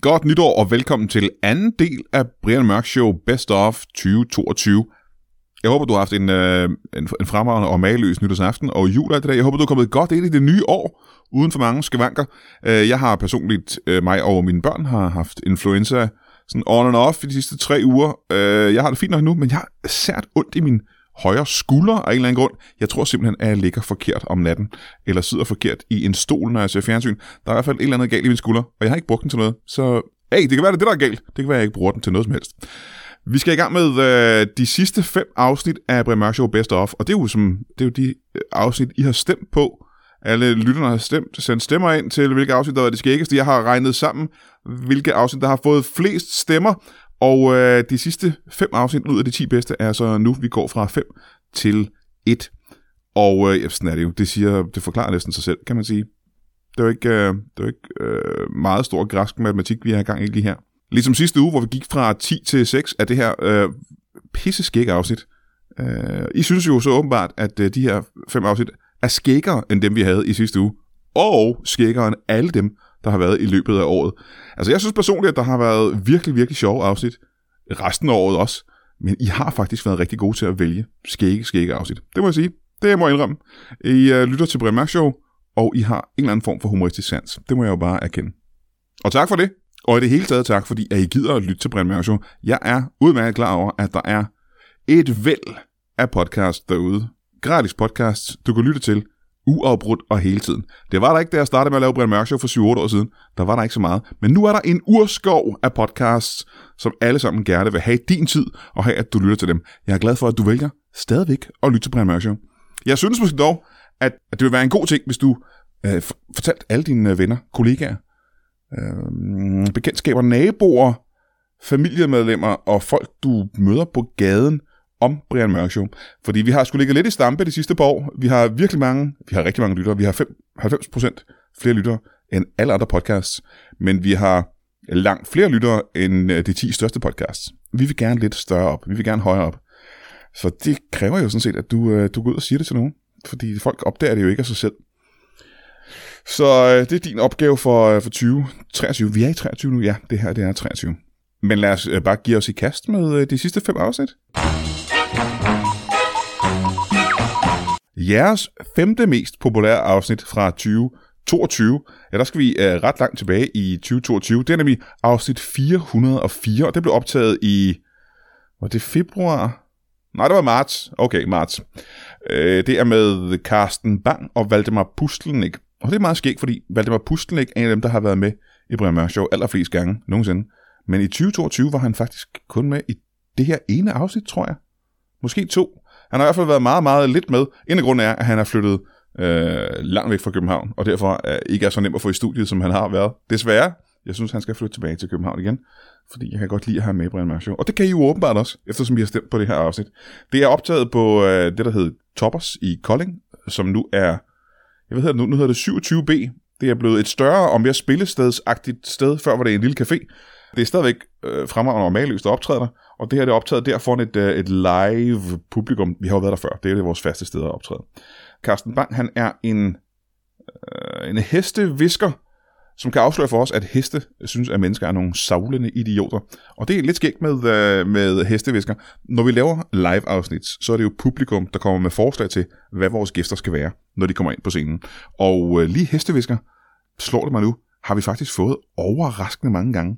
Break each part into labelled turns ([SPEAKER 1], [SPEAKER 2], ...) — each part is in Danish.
[SPEAKER 1] godt nytår og velkommen til anden del af Brian Mørk Show Best of 2022. Jeg håber, du har haft en, øh, en, en fremragende og mageløs nytårsaften og jul af det der. Jeg håber, du er kommet godt ind i det nye år, uden for mange skavanker. Øh, jeg har personligt, øh, mig og mine børn, har haft influenza sådan on and off i de sidste tre uger. Øh, jeg har det fint nok nu, men jeg har sært ondt i min højre skulder af en eller anden grund. Jeg tror simpelthen, at jeg ligger forkert om natten, eller sidder forkert i en stol, når jeg ser fjernsyn. Der er i hvert fald et eller andet galt i min skulder, og jeg har ikke brugt den til noget. Så hey, det kan være, det er det, der er galt. Det kan være, at jeg ikke bruger den til noget som helst. Vi skal i gang med øh, de sidste fem afsnit af Brian Mørk Show Best Of, og det er jo, som, det er jo de øh, afsnit, I har stemt på. Alle lytterne har stemt, sendt stemmer ind til, hvilke afsnit, der var det skæggeste. Jeg har regnet sammen, hvilke afsnit, der har fået flest stemmer. Og øh, de sidste fem afsnit ud af de 10 bedste er så nu, vi går fra 5 til 1. Og øh, ja, sådan er det jo. Det, siger, det forklarer næsten sig selv, kan man sige. Det er jo ikke, øh, det er jo ikke øh, meget stor græsk matematik, vi har i gang i lige her. Ligesom sidste uge, hvor vi gik fra 10 til 6, er det her øh, pisse skæg afsnit. Øh, I synes jo så åbenbart, at øh, de her fem afsnit er skækkere end dem, vi havde i sidste uge. Og skækkere end alle dem, der har været i løbet af året. Altså jeg synes personligt, at der har været virkelig, virkelig sjove afsnit. Resten af året også. Men I har faktisk været rigtig gode til at vælge skægge, skægge afsnit. Det må jeg sige. Det må jeg indrømme. I øh, lytter til Brian Mørk Show, og I har en eller anden form for humoristisk sans. Det må jeg jo bare erkende. Og tak for det. Og i det hele taget tak, fordi at I gider at lytte til Brian Mørk Show. Jeg er udmærket klar over, at der er et væld af podcast derude. Gratis podcasts, du kan lytte til uafbrudt og hele tiden. Det var der ikke, da jeg startede med at lave Brian Mørk Show for 7-8 år siden. Der var der ikke så meget. Men nu er der en urskov af podcasts, som alle sammen gerne vil have i din tid, og have, at du lytter til dem. Jeg er glad for, at du vælger stadigvæk at lytte til Brian Mørk Show. Jeg synes måske dog, at at det vil være en god ting, hvis du øh, for- fortalte alle dine øh, venner, kollegaer, øh, bekendtskaber, naboer, familiemedlemmer og folk, du møder på gaden om Brian Mørk Show. Fordi vi har sgu ligget lidt i stampe de sidste par år. Vi har virkelig mange, vi har rigtig mange lyttere. Vi har fem- 90% flere lyttere end alle andre podcasts. Men vi har langt flere lyttere end øh, de 10 største podcasts. Vi vil gerne lidt større op. Vi vil gerne højere op. Så det kræver jo sådan set, at du, øh, du går ud og siger det til nogen. Fordi folk opdager det jo ikke af sig selv. Så øh, det er din opgave for, øh, for 20. 23. Vi er i 23 nu, ja. Det her, det er 23. Men lad os øh, bare give os i kast med øh, de sidste fem afsnit. Jeres femte mest populære afsnit fra 2022. Ja, der skal vi øh, ret langt tilbage i 2022. Det er nemlig afsnit 404, og det blev optaget i... Var det februar? Nej, det var marts. Okay, marts. Øh, det er med Carsten Bang og Valdemar Pustelnik. Og det er meget skægt, fordi Valdemar Pustelnik er en af dem, der har været med i Brian Mørk Show allerflest gange nogensinde. Men i 2022 var han faktisk kun med i det her ene afsnit, tror jeg. Måske to. Han har i hvert fald været meget, meget lidt med. En af grunden er, at han er flyttet øh, langt væk fra København, og derfor øh, ikke er så nem at få i studiet, som han har været. Desværre, jeg synes, han skal flytte tilbage til København igen, fordi jeg kan godt lide at have med i Brian Mørk Show. Og det kan I jo åbenbart også, eftersom I har stemt på det her afsnit. Det er optaget på øh, det, der hedder Toppers i Kolding, som nu er jeg ved, hvad hedder det nu? Nu hedder det 27B. Det er blevet et større og mere spillestedsagtigt sted. Før var det en lille café. Det er stadigvæk øh, fremragende og maløst at optræde der, og det her det er optaget der foran et, øh, et live publikum. Vi har jo været der før, det er jo det vores faste sted at optræde. Carsten Bang, han er en, øh, en hestevisker, som kan afsløre for os, at heste synes, at mennesker er nogle savlende idioter. Og det er lidt skægt med, øh, med hestevisker. Når vi laver live-afsnit, så er det jo publikum, der kommer med forslag til, hvad vores gæster skal være, når de kommer ind på scenen. Og øh, lige hestevisker, slår det mig nu, har vi faktisk fået overraskende mange gange.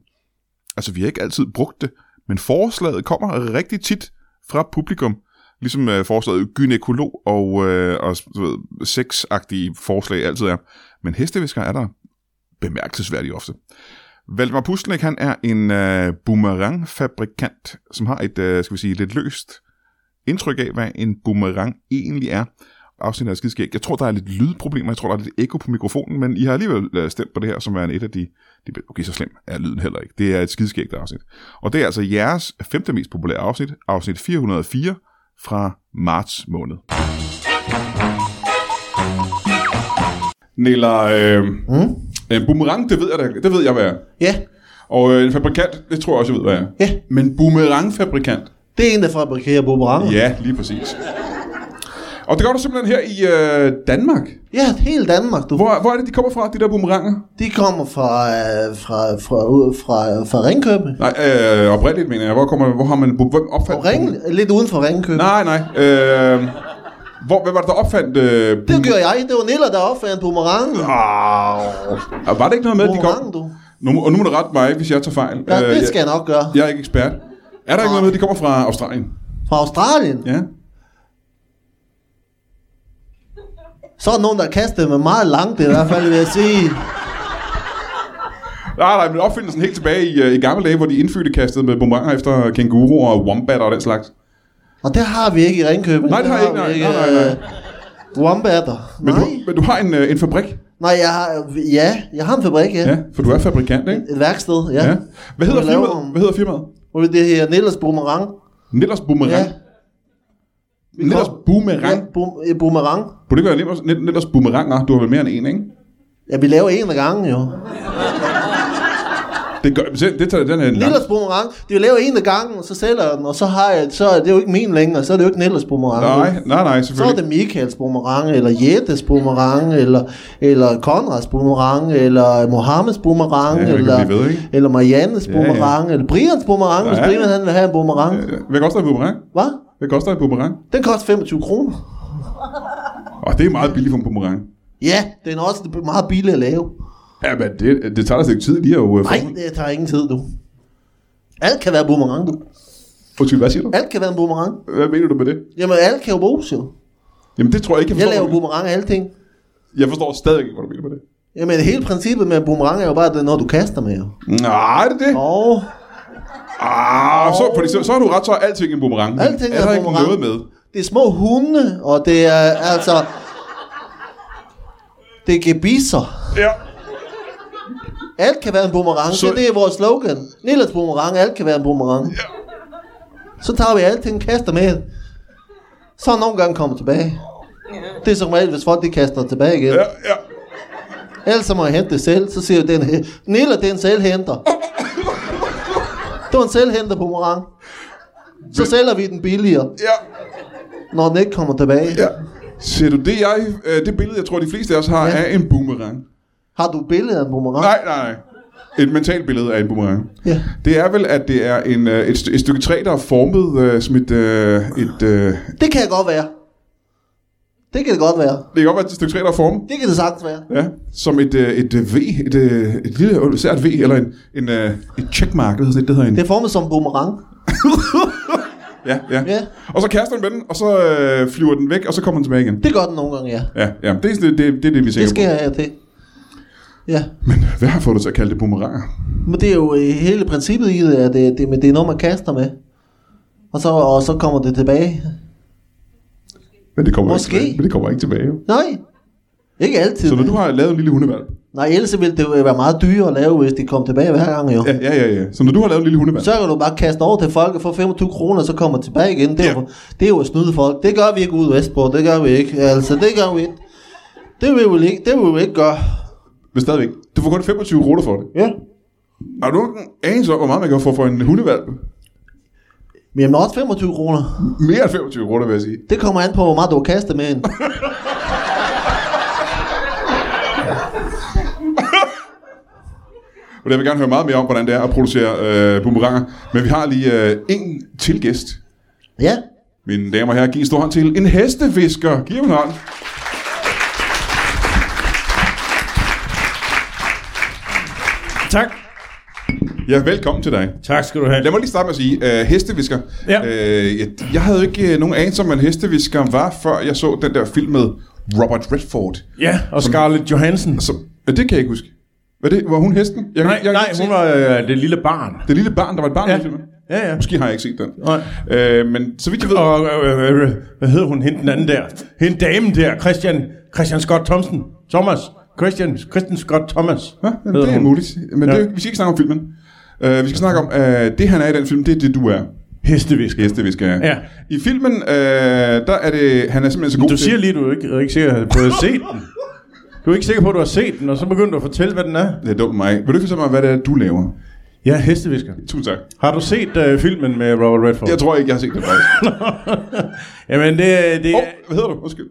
[SPEAKER 1] Altså, vi har ikke altid brugt det, men forslaget kommer rigtig tit fra publikum. Ligesom øh, forslaget gynekolog og, øh, og du ved, sexagtige forslag altid er. Men hestevisker er der bemærkelsesværdigt ofte. Valdemar Pustelnik, han er en øh, boomerangfabrikant, som har et, øh, skal vi sige, lidt løst indtryk af, hvad en boomerang egentlig er. Afsnittet er skidskægt. Jeg tror, der er lidt lydproblemer. Jeg tror, der er lidt ekko på mikrofonen, men I har alligevel øh, stemt på det her, som er en et af de, de... Okay, så slem er lyden heller ikke. Det er et skidskægt afsnit. Og det er altså jeres femte mest populære afsnit, afsnit 404 fra marts måned. Niller, øh, mm? en boomerang, det ved jeg, da- det ved jeg hvad er.
[SPEAKER 2] Ja,
[SPEAKER 1] Og øh, en fabrikant, det tror jeg også, jeg ved, hvad er.
[SPEAKER 2] Ja.
[SPEAKER 1] Men boomerangfabrikant,
[SPEAKER 2] det er en, der fabrikerer boomerang.
[SPEAKER 1] Ja, lige præcis. Og det gør du simpelthen her i øh, Danmark.
[SPEAKER 2] Ja, hele Danmark, du.
[SPEAKER 1] Hvor, hvor er det, de kommer fra, de der boomeranger?
[SPEAKER 2] De kommer fra, øh, fra, fra, ud- fra, fra Ringkøbing.
[SPEAKER 1] Nej, øh, oprindeligt mener jeg. Hvor, kommer, hvor har man... Hvem opfandt...
[SPEAKER 2] Og Ring, lidt uden for Ringkøbing.
[SPEAKER 1] Nej, nej. Øh, hvor, hvem var det, der opfandt... Øh,
[SPEAKER 2] Det gør jeg. Det var Niller, der opfandt boomerangen.
[SPEAKER 1] Ah, var det ikke noget med, at de kom...
[SPEAKER 2] Boomerangen, du.
[SPEAKER 1] Nu, må- og nu må du rette mig, hvis jeg tager fejl.
[SPEAKER 2] Ja,
[SPEAKER 1] Øh,
[SPEAKER 2] det
[SPEAKER 1] jeg-
[SPEAKER 2] skal jeg nok gøre.
[SPEAKER 1] Jeg er ikke ekspert. Er der ikke noget med, at de kommer fra Australien?
[SPEAKER 2] Fra Australien.
[SPEAKER 1] Ja.
[SPEAKER 2] Så er der nogen, der kastede med meget langt i hvert fald, vil jeg sige.
[SPEAKER 1] Nej, nej, men opfindelsen helt tilbage i, øh, i gamle dage, hvor de indfødte kastede med bomberanger efter kænguruer og wombatter og den slags.
[SPEAKER 2] Og det har vi ikke i Ringkøbing.
[SPEAKER 1] Nej, det har jeg ikke. Nej,
[SPEAKER 2] vi
[SPEAKER 1] nej, nej, nej.
[SPEAKER 2] øh, Wombatter.
[SPEAKER 1] Men,
[SPEAKER 2] Nej.
[SPEAKER 1] du, men du har en, øh, en fabrik,
[SPEAKER 2] Nej, jeg har, ja, jeg har en fabrik, ja.
[SPEAKER 1] ja, for du er fabrikant, ikke?
[SPEAKER 2] Et værksted, ja.
[SPEAKER 1] Ja. Hvad hedder
[SPEAKER 2] Jeg laver
[SPEAKER 1] firmaet?
[SPEAKER 2] nogle-
[SPEAKER 1] Hvad hedder firmaet?
[SPEAKER 2] Hvor det her Nillers boomerang.
[SPEAKER 1] Nellers Boomerang.
[SPEAKER 2] Ja.
[SPEAKER 1] Nellers Boomerang.
[SPEAKER 2] Ja, boom, eh, boomerang.
[SPEAKER 1] Burde det ikke være Nellers- Nell- Nellers Boomeranger? Du har vel mere end en, ikke?
[SPEAKER 2] Ja, vi laver en ad gangen jo.
[SPEAKER 1] Det, gør, det, det tager den her lang.
[SPEAKER 2] Nillers boomerang, de vil lave en ad gangen, og så sælger jeg den, og så har jeg, så er det jo ikke min længere, så er det jo ikke Nillers boomerang.
[SPEAKER 1] Nej, nej, nej,
[SPEAKER 2] Så er
[SPEAKER 1] selvfølgelig.
[SPEAKER 2] det Michaels boomerang, eller Jettes boomerang, eller, eller Konrads boomerang, eller Mohammeds boomerang,
[SPEAKER 1] Ja, det kan
[SPEAKER 2] eller,
[SPEAKER 1] blive ved, ikke?
[SPEAKER 2] eller Mariannes
[SPEAKER 1] ja.
[SPEAKER 2] boomerang, eller Brians boomerang, hvis
[SPEAKER 1] Ja.
[SPEAKER 2] Brian han vil have en boomerang.
[SPEAKER 1] Øh, Hvad koster en boomerang?
[SPEAKER 2] Hvad?
[SPEAKER 1] Hvad koster en boomerang?
[SPEAKER 2] Den koster 25 kroner.
[SPEAKER 1] Åh, det er meget billigt for en boomerang.
[SPEAKER 2] Ja, den er også meget billig at lave.
[SPEAKER 1] Ja, men det, det tager da et stykke tid lige at... øh,
[SPEAKER 2] Nej,
[SPEAKER 1] få-
[SPEAKER 2] det tager ingen tid, du. Alt kan være en boomerang, du.
[SPEAKER 1] Undskyld, hvad siger du?
[SPEAKER 2] Alt kan være en boomerang.
[SPEAKER 1] Hvad mener du med det?
[SPEAKER 2] Jamen, alt kan jo bruges, jo.
[SPEAKER 1] Jamen, det tror jeg ikke, jeg
[SPEAKER 2] Jeg
[SPEAKER 1] forstår.
[SPEAKER 2] laver boomerang af alting.
[SPEAKER 1] Jeg forstår stadig ikke, hvad du mener med det.
[SPEAKER 2] Jamen, hele princippet med en boomerang er jo bare, at det er noget, du kaster med, jo.
[SPEAKER 1] Nej, det er det.
[SPEAKER 2] Og
[SPEAKER 1] Ah, så, fordi, så, så har du ret, så er alting en boomerang. Men
[SPEAKER 2] Alting
[SPEAKER 1] er
[SPEAKER 2] er
[SPEAKER 1] der
[SPEAKER 2] en
[SPEAKER 1] ikke
[SPEAKER 2] boomerang.
[SPEAKER 1] noget med?
[SPEAKER 2] det er små hunde, og det er altså... Det er gebisser.
[SPEAKER 1] Ja.
[SPEAKER 2] Alt kan være en boomerang.
[SPEAKER 1] Så-
[SPEAKER 2] Så... Det, det er vores slogan. Nillers boomerang, alt kan være en boomerang.
[SPEAKER 1] Ja.
[SPEAKER 2] Så tager vi alting, kaster med. Så er nogle gange kommer tilbage. Det er som regel, hvis folk de kaster tilbage igen.
[SPEAKER 1] Ja, ja.
[SPEAKER 2] Ellers så må jeg hente det selv, så siger jeg, den her. Nilla, det er en selvhenter. Det var en selvhenter på Morang. Så sælger vi den billigere,
[SPEAKER 1] Ja,
[SPEAKER 2] når den ikke kommer tilbage.
[SPEAKER 1] ja. Ser du det, jeg, øh, det billede, jeg tror, de fleste af os har, ja.
[SPEAKER 2] Ja.
[SPEAKER 1] er en boomerang.
[SPEAKER 2] Har du billedet af en boomerang?
[SPEAKER 1] Nej, nej, nej. Et mentalt billede af en boomerang.
[SPEAKER 2] Ja.
[SPEAKER 1] Det er vel, at det er en, øh, et, st- et stykke træ, der er formet øh, som et... Øh, et øh,
[SPEAKER 2] Det kan jeg godt være. Det kan det godt være.
[SPEAKER 1] det kan godt være et stykke træ, der er formet.
[SPEAKER 2] Det kan det sagtens være.
[SPEAKER 1] Ja, som et, øh, et øh, V, et, øh, et lille sært V, eller en, en, øh, et checkmark, eller sådan et, det hedder en.
[SPEAKER 2] Det er formet som en boomerang.
[SPEAKER 1] Ja, ja.
[SPEAKER 2] Ja.
[SPEAKER 1] Og så kaster den med den, og så øh, flyver den væk, og så kommer den tilbage igen.
[SPEAKER 2] Det gør den nogle gange, ja.
[SPEAKER 1] Ja, ja. Det er sådan- det, det, det, er det vi er
[SPEAKER 2] Det
[SPEAKER 1] sikre
[SPEAKER 2] sker
[SPEAKER 1] på.
[SPEAKER 2] jeg til. Ja.
[SPEAKER 1] Men hvad har fået dig til at kalde det boomeranger?
[SPEAKER 2] Men det er jo øh, hele princippet i det, at det, det, men det er noget, man kaster med. Og så, og så kommer det tilbage.
[SPEAKER 1] Men det kommer
[SPEAKER 2] Måske.
[SPEAKER 1] ikke tilbage. Men det kommer ikke tilbage. jo.
[SPEAKER 2] Nej. Ikke altid.
[SPEAKER 1] Så når du har lavet en lille hundevalp.
[SPEAKER 2] Nej, ellers ville det jo være meget dyrere at lave, hvis de kom tilbage hver gang jo.
[SPEAKER 1] Ja,
[SPEAKER 2] Ja.
[SPEAKER 1] ja, ja, ja. Så når du har lavet en lille hundevalp.
[SPEAKER 2] Så kan du bare kaste over til folk og få 25 kroner, og så kommer tilbage igen. Det er,
[SPEAKER 1] Ja.
[SPEAKER 2] jo, det er jo at snyde folk. Det gør vi ikke ude i Vestbro, det gør vi ikke. Altså, det gør vi ikke. Det vil vi vel ikke, det vil vi ikke gøre.
[SPEAKER 1] Men stadigvæk. Du får kun 25 kroner for det.
[SPEAKER 2] Ja.
[SPEAKER 1] Har du nogen anelse om, hvor meget man kan få for en hundevalp?
[SPEAKER 2] Men jamen, også 25 kroner.
[SPEAKER 1] Mere end 25 kroner, vil jeg sige.
[SPEAKER 2] Det kommer an på, hvor meget du har kastet med en.
[SPEAKER 1] Og jeg vil gerne høre meget mere om, hvordan det er at producere øh, boomeranger. Men vi har lige øh, en til gæst.
[SPEAKER 2] Ja.
[SPEAKER 1] Mine damer og herrer, giv en stor hånd til en hestefisker. Giv ham en hånd.
[SPEAKER 3] Tak.
[SPEAKER 1] Ja, velkommen til dig.
[SPEAKER 3] Tak skal du have.
[SPEAKER 1] Lad mig lige starte med at sige, øh, hestevisker.
[SPEAKER 3] Ja.
[SPEAKER 1] Øh, jeg, jeg havde jo ikke øh, nogen anelse om, at hestevisker var, før jeg så den der film med Robert Redford.
[SPEAKER 3] Ja, og Scarlett Johansson.
[SPEAKER 1] Så, Altså, ja, det kan jeg ikke huske. Var, det, var hun hesten? Jeg,
[SPEAKER 3] Nej,
[SPEAKER 1] jeg, jeg,
[SPEAKER 3] nej, hun var øh, det lille barn.
[SPEAKER 1] Det lille barn, der var et barn
[SPEAKER 3] Ja.
[SPEAKER 1] i filmen.
[SPEAKER 3] ligesom- Ja, ja.
[SPEAKER 1] Måske har jeg ikke set den.
[SPEAKER 3] Nej.
[SPEAKER 1] Øh, men så vidt jeg ved...
[SPEAKER 3] Og øh, øh, øh, hvad hed hun, hende den anden der? Hende damen der, Christian, Christian Scott Thompson. Thomas. Christian, Christian Scott Thomas.
[SPEAKER 1] Ja,
[SPEAKER 3] hedder
[SPEAKER 1] det er
[SPEAKER 3] hun.
[SPEAKER 1] muligt. Men
[SPEAKER 3] Ja.
[SPEAKER 1] det, vi skal ikke snakke om filmen. Øh, vi skal snakke om, øh, det han er i den film, det er det, du er.
[SPEAKER 3] Hestevisker.
[SPEAKER 1] Hestevisker.
[SPEAKER 3] Ja.
[SPEAKER 1] I filmen, øh, der er det... Han er simpelthen så god
[SPEAKER 3] Du
[SPEAKER 1] til-
[SPEAKER 3] siger lige, du er ikke, er ikke sikker på, at du har set den. Du er ikke sikker på, at du har set den, og så begynder du at fortælle, hvad den er.
[SPEAKER 1] Det er dumt mig. Vil du ikke fortælle mig, hvad det er, du laver?
[SPEAKER 3] Ja, hestevisker.
[SPEAKER 1] Tusind tak.
[SPEAKER 3] Har du set øh, filmen med Robert Redford?
[SPEAKER 1] Jeg tror ikke, jeg har set den faktisk.
[SPEAKER 3] Jamen, det, det
[SPEAKER 1] Åh, oh,
[SPEAKER 3] er...
[SPEAKER 1] hvad hedder du? Undskyld.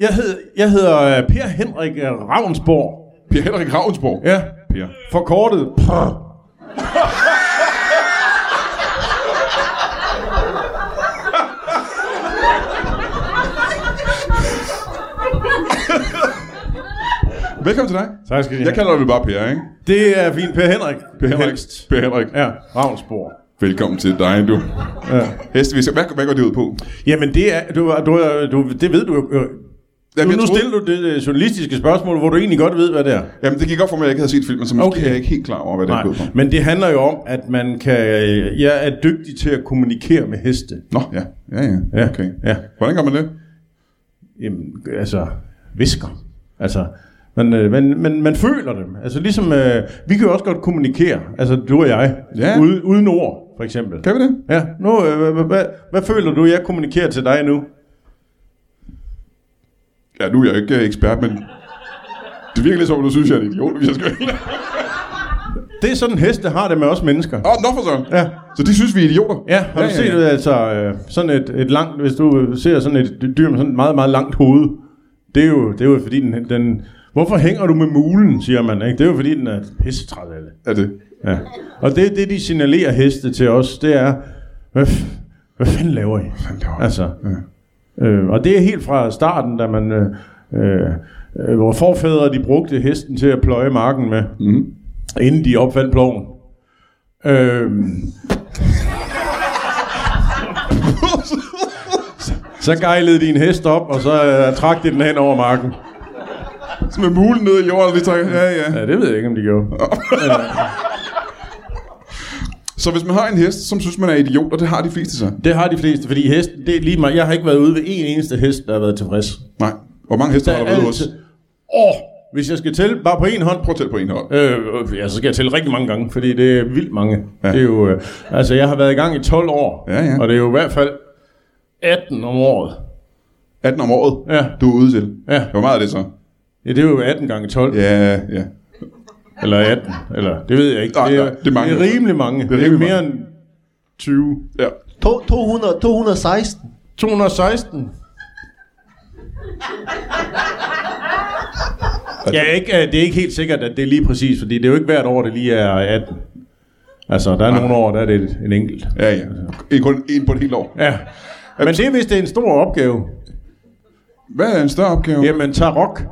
[SPEAKER 3] Jeg, hed, jeg hedder øh, Per Henrik øh, Ravnsborg.
[SPEAKER 1] Per Henrik Ravnsborg.
[SPEAKER 3] Ja.
[SPEAKER 1] Per.
[SPEAKER 3] Forkortet. Prr.
[SPEAKER 1] Velkommen til dig.
[SPEAKER 3] Tak skal I
[SPEAKER 1] Jeg
[SPEAKER 3] have.
[SPEAKER 1] kalder dig vel bare Per, ikke?
[SPEAKER 3] Det er fint. Per Henrik.
[SPEAKER 1] Per Henrik.
[SPEAKER 3] Helst.
[SPEAKER 1] Per Henrik.
[SPEAKER 3] Ja, Ravnsborg.
[SPEAKER 1] Velkommen til dig, du.
[SPEAKER 3] Ja.
[SPEAKER 1] Hestevis. Hvad, hvad går det ud på?
[SPEAKER 3] Jamen, det er... Du, du, du, det ved du jo... øh,
[SPEAKER 1] Jamen,
[SPEAKER 3] Nu,
[SPEAKER 1] jeg
[SPEAKER 3] nu
[SPEAKER 1] troede-
[SPEAKER 3] stiller du det øh, journalistiske spørgsmål, hvor du egentlig godt ved, hvad det er.
[SPEAKER 1] Jamen, det gik op for mig, at jeg ikke havde set filmen, så måske
[SPEAKER 3] Okay.
[SPEAKER 1] er jeg ikke helt klar over, hvad det er
[SPEAKER 3] Nej,
[SPEAKER 1] gået på.
[SPEAKER 3] men det handler jo om, at man kan... øh, Jeg er dygtig til at kommunikere med heste.
[SPEAKER 1] Nå, ja. Ja, ja.
[SPEAKER 3] Ja,
[SPEAKER 1] Okay.
[SPEAKER 3] ja.
[SPEAKER 1] Hvordan gør man det?
[SPEAKER 3] Jamen, altså, visker. Altså, man, øh, man, man, man føler dem. Altså, ligesom, øh, vi kan jo også godt kommunikere, altså du og jeg,
[SPEAKER 1] Ja.
[SPEAKER 3] ude, uden ord, for eksempel.
[SPEAKER 1] Kan vi det?
[SPEAKER 3] Ja, nu, øh, hvad, hvad, hvad, hvad føler du, jeg kommunikerer til dig nu?
[SPEAKER 1] Ja, nu er jeg ikke øh, ekspert, men... Det virker lidt som, om du synes, jeg er en idiot, hvis jeg skal...
[SPEAKER 3] Det er sådan, heste har det med os mennesker.
[SPEAKER 1] Åh, oh, nå for sådan.
[SPEAKER 3] Ja.
[SPEAKER 1] Så de synes, vi er idioter?
[SPEAKER 3] Ja, har ja, du set ja, ja. altså øh, sådan et, et langt, hvis du øh, ser sådan et dyr med sådan et meget, meget langt hoved, det er jo, det er jo fordi den, den, hvorfor hænger du med mulen, siger man, ikke? Det er jo fordi den er pissetræt af det.
[SPEAKER 1] Er det?
[SPEAKER 3] Ja. Og det, det de signalerer heste til os, det er, hvad, f- hvad fanden laver I? Altså, øh, og det er helt fra starten, da man, øh, øh, øh, hvor forfædre de brugte hesten til at pløje marken med, mm. inden de opfandt ploven. Øh, så gejlede de en hest op, og så øh, trak de den hen over marken.
[SPEAKER 1] Så med mulen ned i jorden, lige trækker. Ja, ja.
[SPEAKER 3] Ja, det ved jeg ikke, om de gjorde.
[SPEAKER 1] Så hvis man har en hest, som synes, man er idiot, og det har de fleste så.
[SPEAKER 3] Det har de fleste, fordi hesten, det er lige mig. Jeg har ikke været ude ved en eneste hest, der har været tilfreds.
[SPEAKER 1] Nej. Hvor mange heste
[SPEAKER 3] Der
[SPEAKER 1] har
[SPEAKER 3] er
[SPEAKER 1] du været hos?
[SPEAKER 3] altid... Åh, hvis jeg skal tælle bare på en hånd...
[SPEAKER 1] Prøv at tælle på en hånd.
[SPEAKER 3] Øh, øh, ja, så skal jeg tælle rigtig mange gange, fordi det er vildt mange.
[SPEAKER 1] Ja.
[SPEAKER 3] Ja. Det er jo, øh, altså, jeg har været i gang i 12 år,
[SPEAKER 1] Ja, ja.
[SPEAKER 3] og det er jo i hvert fald 18 om året.
[SPEAKER 1] 18 om året,
[SPEAKER 3] Ja.
[SPEAKER 1] du er ude til.
[SPEAKER 3] Ja.
[SPEAKER 1] Hvor meget er det så?
[SPEAKER 3] Ja, det er jo 18 gange 12, ja.
[SPEAKER 1] Ja, ja.
[SPEAKER 3] eller 18, eller det ved jeg ikke.
[SPEAKER 1] Nej,
[SPEAKER 3] det, er,
[SPEAKER 1] nej, det er mange.
[SPEAKER 3] det er rimelig mange. Det er,
[SPEAKER 1] rimelig
[SPEAKER 3] mere
[SPEAKER 1] mange.
[SPEAKER 3] end 20.
[SPEAKER 1] ja.
[SPEAKER 2] To, 200, 216.
[SPEAKER 3] 216. Ja, ikke, øh, det er ikke helt sikkert, at det er lige præcis, fordi det er jo ikke hvert år, det lige er 18. Altså, der er nogle år, der er det et- en enkelt.
[SPEAKER 1] Ja, ja. En, kun en på et helt år. Altså-
[SPEAKER 3] Ja. Men det er, hvis det er en stor opgave.
[SPEAKER 1] Hvad er en større opgave?
[SPEAKER 3] Jamen, Tarok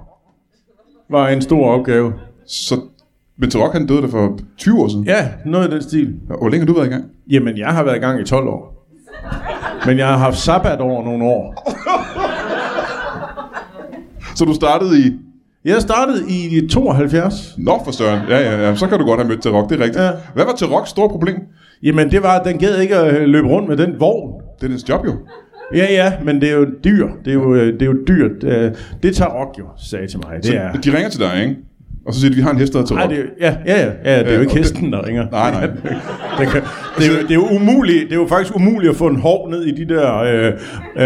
[SPEAKER 3] var en stor opgave.
[SPEAKER 1] Så, men Tarok, han døde der for 20 år siden.
[SPEAKER 3] Ja, noget af den stil.
[SPEAKER 1] Og Hvor længe har du været i gang?
[SPEAKER 3] Jamen, jeg har været i gang i 12 år. Men jeg har haft sabbat over nogle år.
[SPEAKER 1] Så du startede i...
[SPEAKER 3] Jeg startede i 72.
[SPEAKER 1] Nå for søren. Ja, ja, ja. Så kan du godt have mødt Tarok, det er rigtigt.
[SPEAKER 3] Ja.
[SPEAKER 1] Hvad var Taroks store problem?
[SPEAKER 3] Jamen, det var, at den gad ikke at øh, løbe rundt med den vogn.
[SPEAKER 1] Det er dens job jo.
[SPEAKER 3] Ja, ja, men det er jo dyr. Det er jo, øh, det er jo dyrt. Øh, Det tager Rock jo, sagde til mig. Det er...
[SPEAKER 1] De ringer til dig, ikke? Og så siger de, vi har en hest, der hedder
[SPEAKER 3] Nej,
[SPEAKER 1] Tarok.
[SPEAKER 3] det er, jo- ja, ja, ja, ja, det er jo
[SPEAKER 1] Øh,
[SPEAKER 3] ikke
[SPEAKER 1] og
[SPEAKER 3] hesten, der ringer.
[SPEAKER 1] Nej, nej.
[SPEAKER 3] Det, kan, det, er jo, det, er jo umuligt, det er jo faktisk umuligt at få en hov ned i de der... Øh,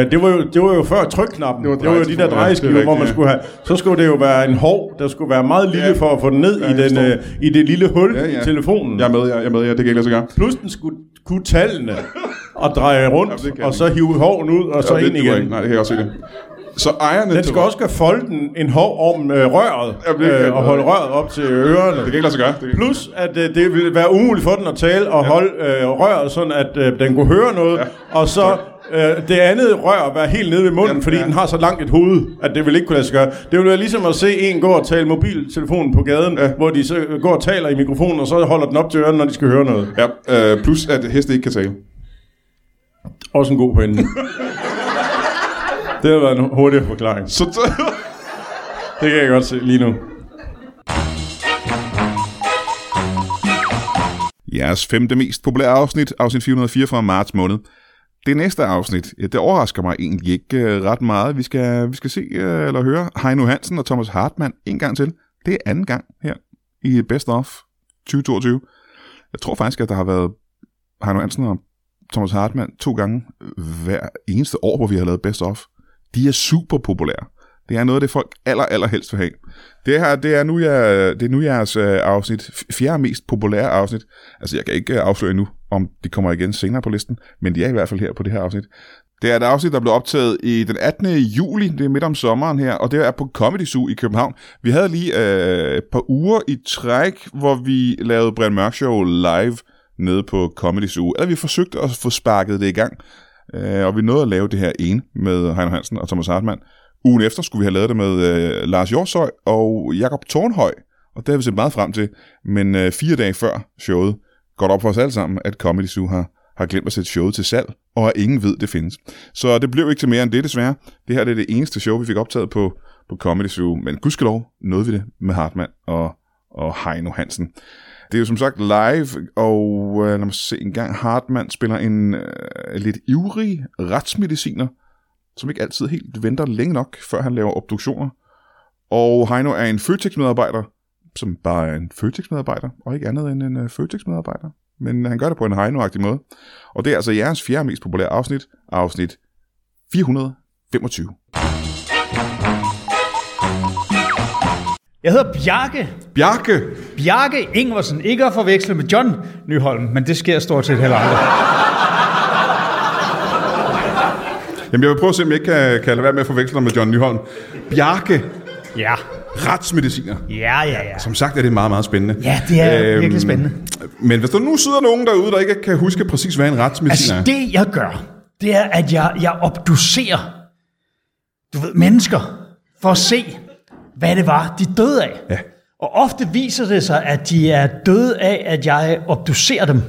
[SPEAKER 3] øh, det, var jo, det var jo før trykknappen. Det var, det var jo de der
[SPEAKER 1] drejeskiver, ja,
[SPEAKER 3] drejeskiver,
[SPEAKER 1] det er
[SPEAKER 3] hvor man
[SPEAKER 1] rigtigt,
[SPEAKER 3] skulle have... Så skulle det jo være en hov, der skulle være meget lille
[SPEAKER 1] Ja.
[SPEAKER 3] for at få den ned
[SPEAKER 1] Ja,
[SPEAKER 3] i,
[SPEAKER 1] jeg
[SPEAKER 3] den, øh,
[SPEAKER 1] forstår.
[SPEAKER 3] i det lille hul
[SPEAKER 1] Ja,
[SPEAKER 3] ja,
[SPEAKER 1] ja.
[SPEAKER 3] i telefonen.
[SPEAKER 1] Jeg er med, jeg, jeg er med, jeg. Det kan ikke lade sig gøre.
[SPEAKER 3] Plus den skulle kunne tallene og dreje rundt,
[SPEAKER 1] Jamen, det kan
[SPEAKER 3] og
[SPEAKER 1] den
[SPEAKER 3] så hive hoven ud, og så
[SPEAKER 1] det,
[SPEAKER 3] ind
[SPEAKER 1] duer
[SPEAKER 3] igen.
[SPEAKER 1] Ikke. Nej, det kan jeg også se det. Så ejerne...
[SPEAKER 3] Den skal også folde den en hov om øh, røret,
[SPEAKER 1] Jamen, det kan-
[SPEAKER 3] øh, og holde røret op til
[SPEAKER 1] Det
[SPEAKER 3] ørerne.
[SPEAKER 1] kan ikke lade sig gøre. Det kan...
[SPEAKER 3] Plus, at øh, det ville være umuligt for den at tale og holde øh, røret, sådan at øh, den kunne høre noget,
[SPEAKER 1] Ja.
[SPEAKER 3] og så øh, det andet rør være helt nede ved munden,
[SPEAKER 1] Ja,
[SPEAKER 3] fordi
[SPEAKER 1] ja.
[SPEAKER 3] den har så langt et hoved, at det ville ikke kunne lade sig gøre. Det ville være ligesom at se en gå og tale mobiltelefonen på gaden, hvor de så går og taler i mikrofonen, og så holder den op til ørerne, når de skal høre noget.
[SPEAKER 1] Ja, øh, plus at heste ikke kan tale.
[SPEAKER 3] Også en god pointe. det har været en hurtig forklaring.
[SPEAKER 1] Så
[SPEAKER 3] Det kan jeg godt se lige nu.
[SPEAKER 1] Jeres femte mest populære afsnit, afsnit 404 fra marts måned. Det næste afsnit, ja, det overrasker mig egentlig ikke øh, ret meget. Vi skal, vi skal se øh, eller høre Heino Hansen og Thomas Hartmann en gang til. Det er anden gang her i Best Of 2022. Jeg tror faktisk, at der har været Heino Hansen og Thomas Hartmann to gange hver eneste år, hvor vi har lavet Best Of. De er super populære. Det er noget, det folk aller, aller helst vil have. Det her, det er nu, jeg, det er nu jeres øh, afsnit, f- fjerde mest populære afsnit. Altså, jeg kan ikke øh, afsløre endnu, om de kommer igen senere på listen, men de er i hvert fald her på det her afsnit. Det er et afsnit, der blev optaget i den 18. juli, det er midt om sommeren her, og det er på Comedy Zoo i København. Vi havde lige øh, et par uger i træk, hvor vi lavede Brian Mørk Show live nede på Comedy Zoo, eller vi forsøgte at få sparket det i gang, øh, og vi nåede at lave det her ene med Heino Hansen og Thomas Hartmann. Ugen efter skulle vi have lavet det med øh, Lars Jorshøj og Jakob Tornhøj, og det har vi set meget frem til, men øh, fire dage før showet går det op for os alle sammen, at Comedy Zoo har, har glemt at sætte showet til salg, og at ingen ved, det findes. Så det blev ikke til mere end det, desværre. Det her det er det eneste show, vi fik optaget på, på Comedy Zoo, men gudskelov nåede vi det med Hartmann og, og Heino Hansen. Det er jo som sagt live, og øh, lad mig se en gang, Hartmann spiller en øh, lidt ivrig retsmediciner, som ikke altid helt venter længe nok, før han laver obduktioner. Og Heino er en Føtex-medarbejder, som bare er en Føtex-medarbejder, og ikke andet end en øh, Føtex-medarbejder. Men han gør det på en Heino-agtig måde. Og det er altså jeres fjerde mest populære afsnit, afsnit 425.
[SPEAKER 4] Jeg hedder Bjarke.
[SPEAKER 1] Bjarke!
[SPEAKER 4] Bjarke Ingersen. Ikke at forveksle med John Nyholm, men det sker stort set heller aldrig.
[SPEAKER 1] Jamen jeg vil prøve at se, om jeg ikke kan, kan lade være med at forveksle dig med John Nyholm. Bjarke,
[SPEAKER 4] Ja,
[SPEAKER 1] retsmediciner.
[SPEAKER 4] ja, ja, ja.
[SPEAKER 1] Som sagt er det meget, meget spændende. Øhm,
[SPEAKER 4] Ja, det er virkelig spændende.
[SPEAKER 1] Men hvis der nu sidder nogen derude, der ikke kan huske præcis, hvad en retsmediciner
[SPEAKER 4] Altså
[SPEAKER 1] er.
[SPEAKER 4] det, jeg gør, det er, at jeg, jeg obducerer, du ved, mennesker, for at se, hvad det var, de døde af.
[SPEAKER 1] Ja.
[SPEAKER 4] Og ofte viser det sig, at de er døde af, at jeg obducerer dem.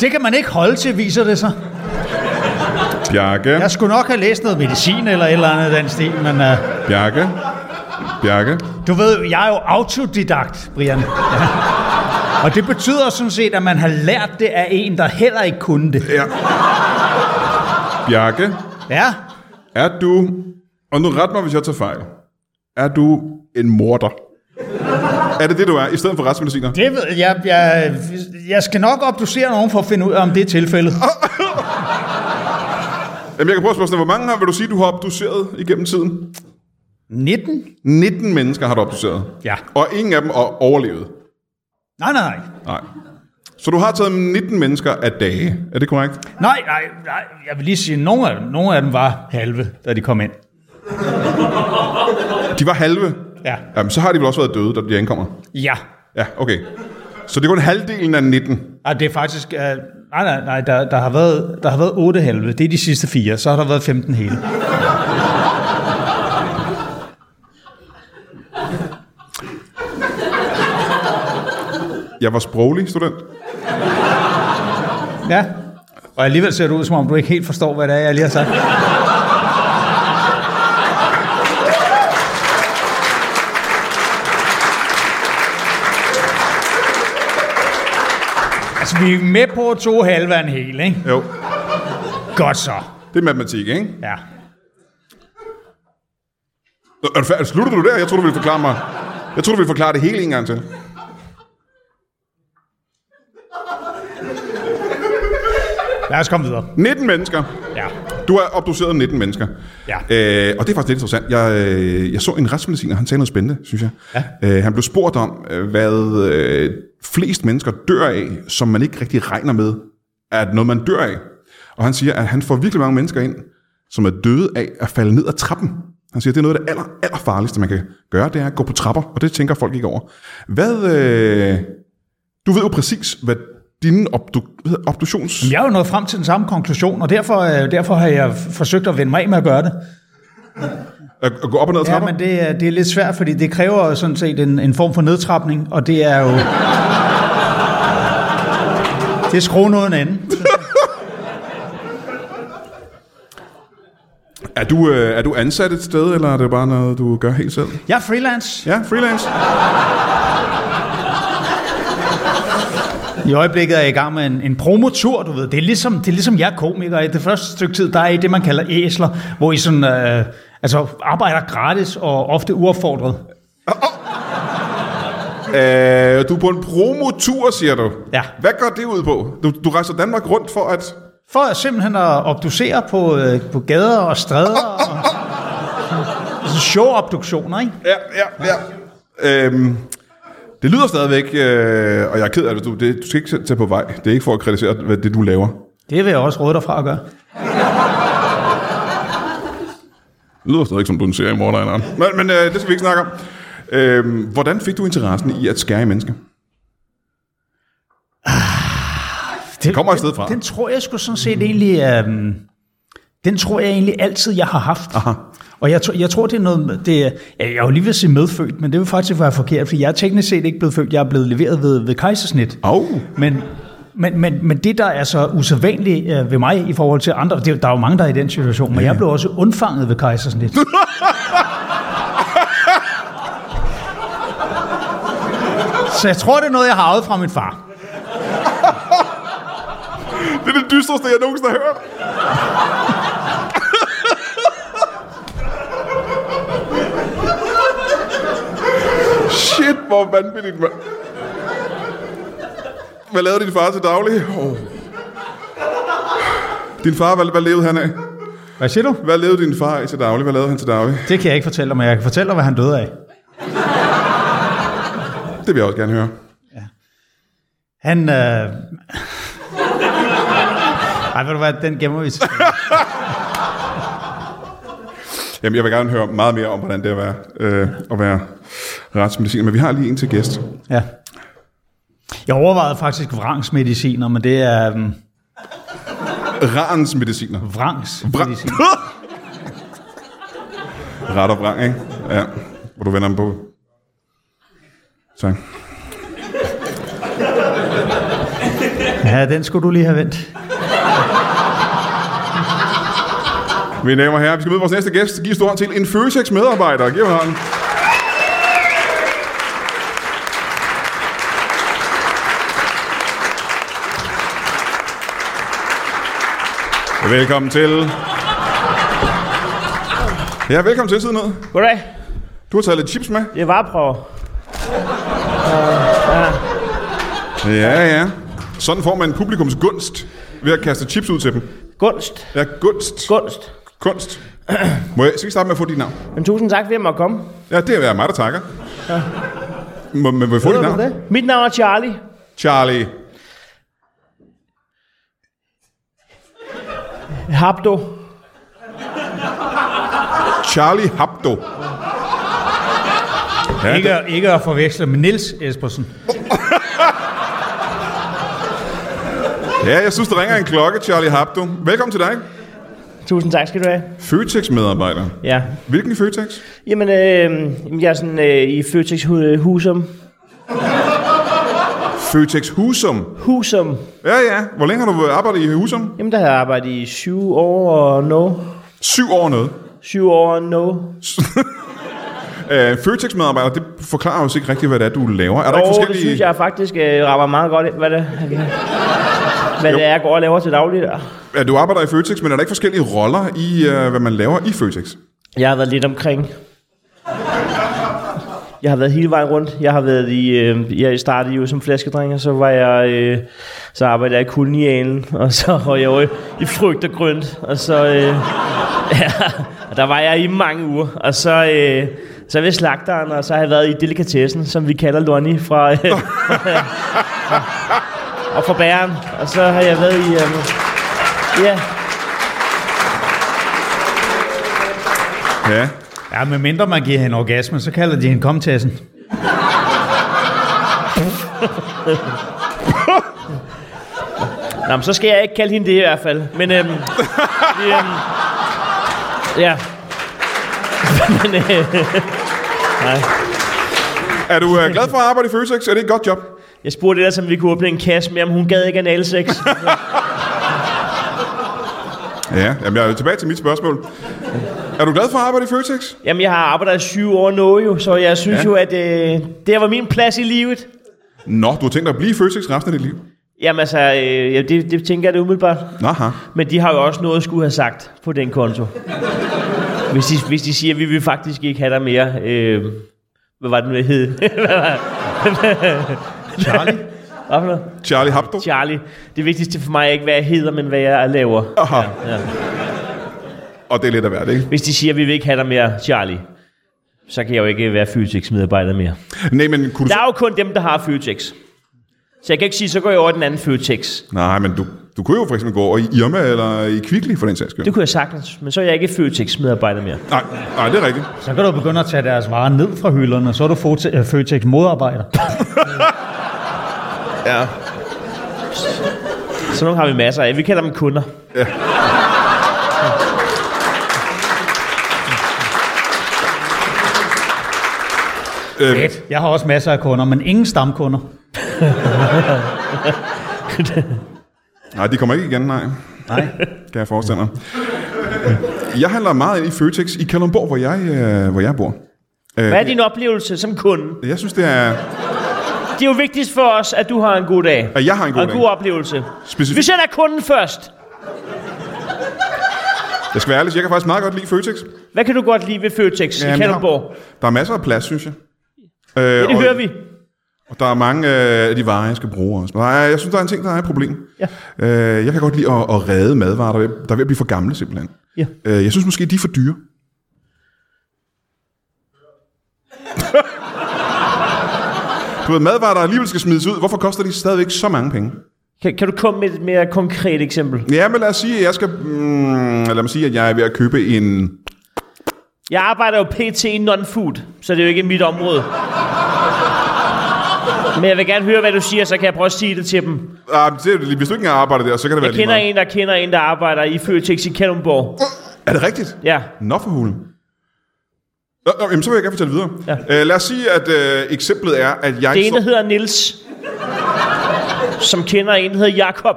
[SPEAKER 4] Det kan man ikke holde til, viser det sig.
[SPEAKER 1] Bjarke,
[SPEAKER 4] Jeg skulle nok have læst noget medicin eller et eller andet i den stil, men uh,
[SPEAKER 1] Bjarke, Bjarke.
[SPEAKER 4] du ved, jeg er jo autodidakt, Brian. Ja. Og det betyder sådan set, at man har lært det af en, der heller ikke kunne det.
[SPEAKER 1] Ja. Bjarke,
[SPEAKER 4] Ja,
[SPEAKER 1] er du... Og nu ret mig, hvis jeg tager fejl. Er du en morder? Er det det, du er, i stedet for retsmediciner?
[SPEAKER 4] det ved jeg. Jeg, jeg skal nok obducere nogen for at finde ud af, om det er tilfældet.
[SPEAKER 1] Jamen, jeg kan prøve at spørge sådan, hvor mange har, vil du sige, du har obduceret igennem tiden?
[SPEAKER 4] 19?
[SPEAKER 1] 19 mennesker har du obduceret.
[SPEAKER 4] Ja.
[SPEAKER 1] Og ingen af dem har overlevet.
[SPEAKER 4] Nej, nej, nej.
[SPEAKER 1] Nej. Så du har taget 19 mennesker af dage. Er det korrekt?
[SPEAKER 4] Nej, nej, nej. Jeg vil lige sige, at nogle af dem, nogle af dem var halve, da de kom ind.
[SPEAKER 1] De var halve.
[SPEAKER 4] Ja.
[SPEAKER 1] Jamen, så har de vel også været døde, da de ankommer.
[SPEAKER 4] Ja.
[SPEAKER 1] Ja, okay. Så det er kun halvdelen af 19.
[SPEAKER 4] Og det er faktisk... Uh, nej, nej, nej. Der, der, har været, der har været 8 halve. Det er de sidste fire. Så har der været 15 hele.
[SPEAKER 1] Jeg var sproglig student.
[SPEAKER 4] Ja. Og alligevel ser det ud, som om du ikke helt forstår, hvad det er, jeg lige har sagt. Altså, vi er med på at to halve er en hel, ikke?
[SPEAKER 1] Jo,
[SPEAKER 4] Godt så.
[SPEAKER 1] det er matematik, ikke?
[SPEAKER 4] Ja.
[SPEAKER 1] Nå, Er du færdig? Slutter du der? Jeg tror du ville forklare mig. Jeg tror du ville forklare det hele en gang til.
[SPEAKER 4] Lad os komme videre.
[SPEAKER 1] 19 mennesker.
[SPEAKER 4] Ja.
[SPEAKER 1] Du har obduceret 19 mennesker.
[SPEAKER 4] Ja.
[SPEAKER 1] Øh, og det er faktisk lidt interessant. Jeg, øh, jeg så en retsmediciner, han sagde noget spændende, synes jeg.
[SPEAKER 4] Ja.
[SPEAKER 1] Øh, han blev spurgt om, øh, hvad øh, flest mennesker dør af, som man ikke rigtig regner med, er noget, man dør af. Og han siger, at han får virkelig mange mennesker ind, som er døde af at falde ned ad trappen. Han siger, at det er noget af det aller, aller farligste, man kan gøre, det er at gå på trapper, og det tænker folk ikke over. Hvad, øh, du ved jo præcis, hvad dine obdu, hvad hedder, obduktions...
[SPEAKER 4] Jeg er jo nået frem til den samme konklusion, og derfor, øh, derfor har jeg f- forsøgt at vende mig af med at gøre det.
[SPEAKER 1] At, at gå op og ned ad
[SPEAKER 4] Ja,
[SPEAKER 1] trapper?
[SPEAKER 4] men det er, det er lidt svært, fordi det kræver jo sådan set en, en form for nedtrapning, og det er jo... det er skruenåden anden.
[SPEAKER 1] Er du, øh, er du ansat et sted, eller er det bare noget, du gør helt selv?
[SPEAKER 4] Jeg er freelance.
[SPEAKER 1] Ja, freelance.
[SPEAKER 4] I øjeblikket er jeg i gang med en, en promotur, du ved. Det er, ligesom, det er ligesom jeg er komiker. I det første stykke tid, der er I det, man kalder æsler, hvor I sådan, øh, altså, arbejder gratis og ofte uopfordret.
[SPEAKER 1] Øh, du er på en promotur, siger du.
[SPEAKER 4] Ja.
[SPEAKER 1] Hvad går det ud på? Du, du rejser Danmark rundt for at...
[SPEAKER 4] For at simpelthen at obducere på, øh, på gader og stræder. Og, altså show-obduktioner, ikke?
[SPEAKER 1] Ja, ja, ja. Øhm, det lyder stadigvæk, øh, og jeg er ked af det. Du, det. du skal ikke tage på vej. Det er ikke for at kritisere hvad det, du laver.
[SPEAKER 4] Det vil jeg også råde dig fra at gøre.
[SPEAKER 1] Det lyder stadigvæk som du er en seriemorder eller andet. Men, men øh, det skal vi ikke snakke om. Øhm, hvordan fik du interessen i at skære i mennesker?
[SPEAKER 4] Ah, Det
[SPEAKER 1] kommer et sted fra.
[SPEAKER 4] Den, den tror jeg sgu sådan set egentlig... Øhm, den tror jeg egentlig altid, jeg har haft. Aha. Og jeg, tror- jeg tror, det er noget... Det, er- ja, jeg er jo lige ved at sige medfødt, men det vil faktisk være forkert, for jeg er teknisk set ikke blevet født. Jeg er blevet leveret ved, ved kejsersnit.
[SPEAKER 1] Au.
[SPEAKER 4] Men, men, men, men det, der er så usædvanligt øh, ved mig i forhold til andre, det, der er jo mange, der er i den situation, men jeg blev også undfanget ved kejsersnit. så jeg tror, det er noget, jeg har arvet fra min far.
[SPEAKER 1] Det er det dystreste, jeg nogensinde har hørt. Shit, hvor vanvittigt, mand. Hvad lavede din far til daglig? Oh. Din far, hvad, hvad levede han af?
[SPEAKER 4] Hvad siger du?
[SPEAKER 1] Hvad levede din far af til daglig? Hvad lavede han til daglig?
[SPEAKER 4] Det kan jeg ikke fortælle dig, men jeg kan fortælle dig, hvad han døde af.
[SPEAKER 1] Det vil jeg også gerne høre.
[SPEAKER 4] Han... Øh... Ej, ved du hvad, den gemmer vi til.
[SPEAKER 1] Jamen, jeg vil gerne høre meget mere om, hvordan det er at være, øh, at være retsmediciner. Men vi har lige en til gæst.
[SPEAKER 4] Ja. Jeg overvejede faktisk vrangsmediciner, men det er... Um,
[SPEAKER 1] Rarens mediciner.
[SPEAKER 4] vrangsmediciner.
[SPEAKER 1] Ret og vrang, ikke? Ja. Hvor du vender dem på. Tak.
[SPEAKER 4] Ja, den skulle du lige have vendt.
[SPEAKER 1] Mine damer og herrer, vi skal møde vores næste gæst. Giv en stor hånd til en Føtex medarbejder. Giv ham hånden. Velkommen til. Ja, velkommen til siden ned.
[SPEAKER 5] Goddag.
[SPEAKER 1] Du har taget lidt chips med.
[SPEAKER 5] Det er vareprøver.
[SPEAKER 1] Ja, ja. Sådan får man publikums gunst ved at kaste chips ud til dem.
[SPEAKER 5] Gunst.
[SPEAKER 1] Ja, gunst.
[SPEAKER 5] Gunst.
[SPEAKER 1] Kunst. Må jeg, skal vi starte med at få dit navn?
[SPEAKER 5] Men tusind tak, fordi jeg måtte komme.
[SPEAKER 1] Ja, det er mig, der takker. Må, men må jeg få dit
[SPEAKER 5] Ved du
[SPEAKER 1] navn?
[SPEAKER 5] det? Mit navn er Charlie.
[SPEAKER 1] Charlie.
[SPEAKER 5] Habdo.
[SPEAKER 1] Charlie Habdo. Ja, det,
[SPEAKER 4] Ikke, ikke at forveksle med Nils Espersen.
[SPEAKER 1] ja, jeg synes, der ringer en klokke, Charlie Habdo. Velkommen til dig.
[SPEAKER 5] Tusind tak skal du have.
[SPEAKER 1] Føtex-medarbejder.
[SPEAKER 5] Ja.
[SPEAKER 1] Hvilken Føtex?
[SPEAKER 5] Jamen, øh, jamen, jeg er sådan øh, i Føtex Hu- Husum.
[SPEAKER 1] Føtex Husum.
[SPEAKER 5] Husum.
[SPEAKER 1] Ja, ja. Hvor længe har du arbejdet i Husum?
[SPEAKER 5] Jamen, der har jeg arbejdet i syv år og no.
[SPEAKER 1] Syv år noget.
[SPEAKER 5] Syv år og no.
[SPEAKER 1] Øh, Føtex-medarbejder, det forklarer os ikke rigtigt, hvad det er, du laver. Er der ikke
[SPEAKER 5] Og det
[SPEAKER 1] forskellige...
[SPEAKER 5] synes jeg faktisk øh, rammer meget godt ind, hvad det, hvad det er, jeg går og laver til daglig.
[SPEAKER 1] Ja, du arbejder i Føtex, men er der ikke forskellige roller i, øh, hvad man laver i Føtex?
[SPEAKER 5] Jeg har været lidt omkring. Jeg har været hele vejen rundt. Jeg har været i, øh, jeg startede jo som flaskedreng, og så var jeg, øh, så arbejdede jeg i kolonialen, og så var jeg jo i, i frygt og grønt, og så, øh, ja, og der var jeg i mange uger, og så, øh, så ved slagteren, og så har jeg været i delikatessen, som vi kalder Lonnie fra, øh, og fra bæren, og så har jeg været i, øh, ja,
[SPEAKER 1] Ja.
[SPEAKER 4] Ja, med mindre man giver hende orgasme, så kalder de hende komtassen.
[SPEAKER 5] Nå, men så skal jeg ikke kalde hende det i hvert fald. Men øhm, vi, øhm, ja. men, øh,
[SPEAKER 1] Er du øh, glad for at arbejde i Føtex? Er det et godt job?
[SPEAKER 5] jeg spurgte ellers, om vi kunne åbne en kasse med, om hun gad ikke analsex.
[SPEAKER 1] Ja, jamen jeg er tilbage til mit spørgsmål. Er du glad for at arbejde i Føtex?
[SPEAKER 5] Jamen, jeg har arbejdet i syv år nu jo, så jeg synes ja. jo, at øh, det var min plads i livet.
[SPEAKER 1] Nå, du har tænkt dig at blive i Føtex resten af dit liv.
[SPEAKER 5] Jamen altså, øh, ja, det, det tænker jeg det umiddelbart.
[SPEAKER 1] Aha.
[SPEAKER 5] Men de har jo også noget at skulle have sagt på den konto. Hvis de, hvis de siger, at vi vil faktisk ikke have dig mere. Øh, hvad var det nu, jeg hed? Hvad var-
[SPEAKER 4] Charlie?
[SPEAKER 5] Hvad for noget?
[SPEAKER 1] Charlie Hebdo.
[SPEAKER 5] Charlie. Det vigtigste for mig er ikke, hvad jeg hedder, men hvad jeg laver.
[SPEAKER 1] Aha.
[SPEAKER 5] Ja.
[SPEAKER 1] Og det er lidt af hvert, ikke?
[SPEAKER 5] Hvis de siger, at vi vil ikke have dig mere, Charlie, så kan jeg jo ikke være Føtex-medarbejder mere.
[SPEAKER 1] Nej, men kunne du...
[SPEAKER 5] Der er jo kun dem, der har Føtex. Så jeg kan ikke sige, så går jeg over i den anden Føtex.
[SPEAKER 1] Nej, men du, du kunne jo for eksempel gå over i Irma eller i Kvickly, for den sags skyld.
[SPEAKER 5] Det kunne jeg sagtens, men så er jeg ikke Føtex-medarbejder mere.
[SPEAKER 1] Nej, nej, det er rigtigt.
[SPEAKER 4] Så kan du begynde at tage deres varer ned fra hylderne, og så er du Fote- øh, Føtex modarbejder.
[SPEAKER 1] Ja.
[SPEAKER 5] Så nogle har vi masser af. Vi kalder dem kunder.
[SPEAKER 1] Øh,
[SPEAKER 4] Fedt. Jeg har også masser af kunder, men ingen stamkunder.
[SPEAKER 1] nej, de kommer ikke igen, nej.
[SPEAKER 4] Nej.
[SPEAKER 1] Kan jeg forestille mig. Jeg handler meget ind i Føtex i Kalundborg, hvor jeg, øh, hvor jeg bor. Øh,
[SPEAKER 5] Hvad er din oplevelse som kunde?
[SPEAKER 1] Jeg synes, det er...
[SPEAKER 5] Det er jo vigtigst for os, at du har en god dag.
[SPEAKER 1] At jeg har en god
[SPEAKER 5] og en
[SPEAKER 1] dag.
[SPEAKER 5] god oplevelse.
[SPEAKER 1] Specifikt.
[SPEAKER 5] Vi sætter kunden først.
[SPEAKER 1] Jeg skal være ærlig, jeg kan faktisk meget godt lide Føtex.
[SPEAKER 5] Hvad kan du godt lide ved Føtex i
[SPEAKER 1] Jamen,
[SPEAKER 5] Kalundborg?
[SPEAKER 1] Der er masser af plads, synes jeg. Øh,
[SPEAKER 5] Ja, det
[SPEAKER 1] og,
[SPEAKER 5] hører vi.
[SPEAKER 1] Og der er mange øh, af de varer, jeg skal bruge også. Der er, jeg synes, der er en ting, der er et problem.
[SPEAKER 5] Ja.
[SPEAKER 1] Øh, jeg kan godt lide at, at redde madvarer, der er, ved, der er ved at blive for gamle simpelthen.
[SPEAKER 5] Ja.
[SPEAKER 1] Øh, jeg synes måske, de er for dyre. du ved, madvarer, der alligevel skal smides ud, hvorfor koster de stadigvæk så mange penge?
[SPEAKER 5] Kan, kan du komme med et mere konkret eksempel?
[SPEAKER 1] Ja, men lad os sige, at jeg skal... Mm, lad mig sige, at jeg er ved at købe en...
[SPEAKER 5] Jeg arbejder jo pt. i non-food, så det er jo ikke mit område. Men jeg vil gerne høre, hvad du siger, så kan jeg prøve at sige det til dem.
[SPEAKER 1] Ah, det er jo lige- hvis du ikke engang arbejder der, så kan det
[SPEAKER 5] Jeg
[SPEAKER 1] være lige
[SPEAKER 5] kender
[SPEAKER 1] meget.
[SPEAKER 5] en, der kender en, der arbejder i Føtex i Kalundborg.
[SPEAKER 1] Er det rigtigt?
[SPEAKER 5] Ja.
[SPEAKER 1] Nå for hulen. Nå, nå, jamen, så vil jeg gerne fortælle videre. Ja. Øh, lad os sige, at øh, eksemplet er, at jeg
[SPEAKER 5] Det er en,
[SPEAKER 1] står...
[SPEAKER 5] der hedder Nils, som kender en, der hedder Jakob,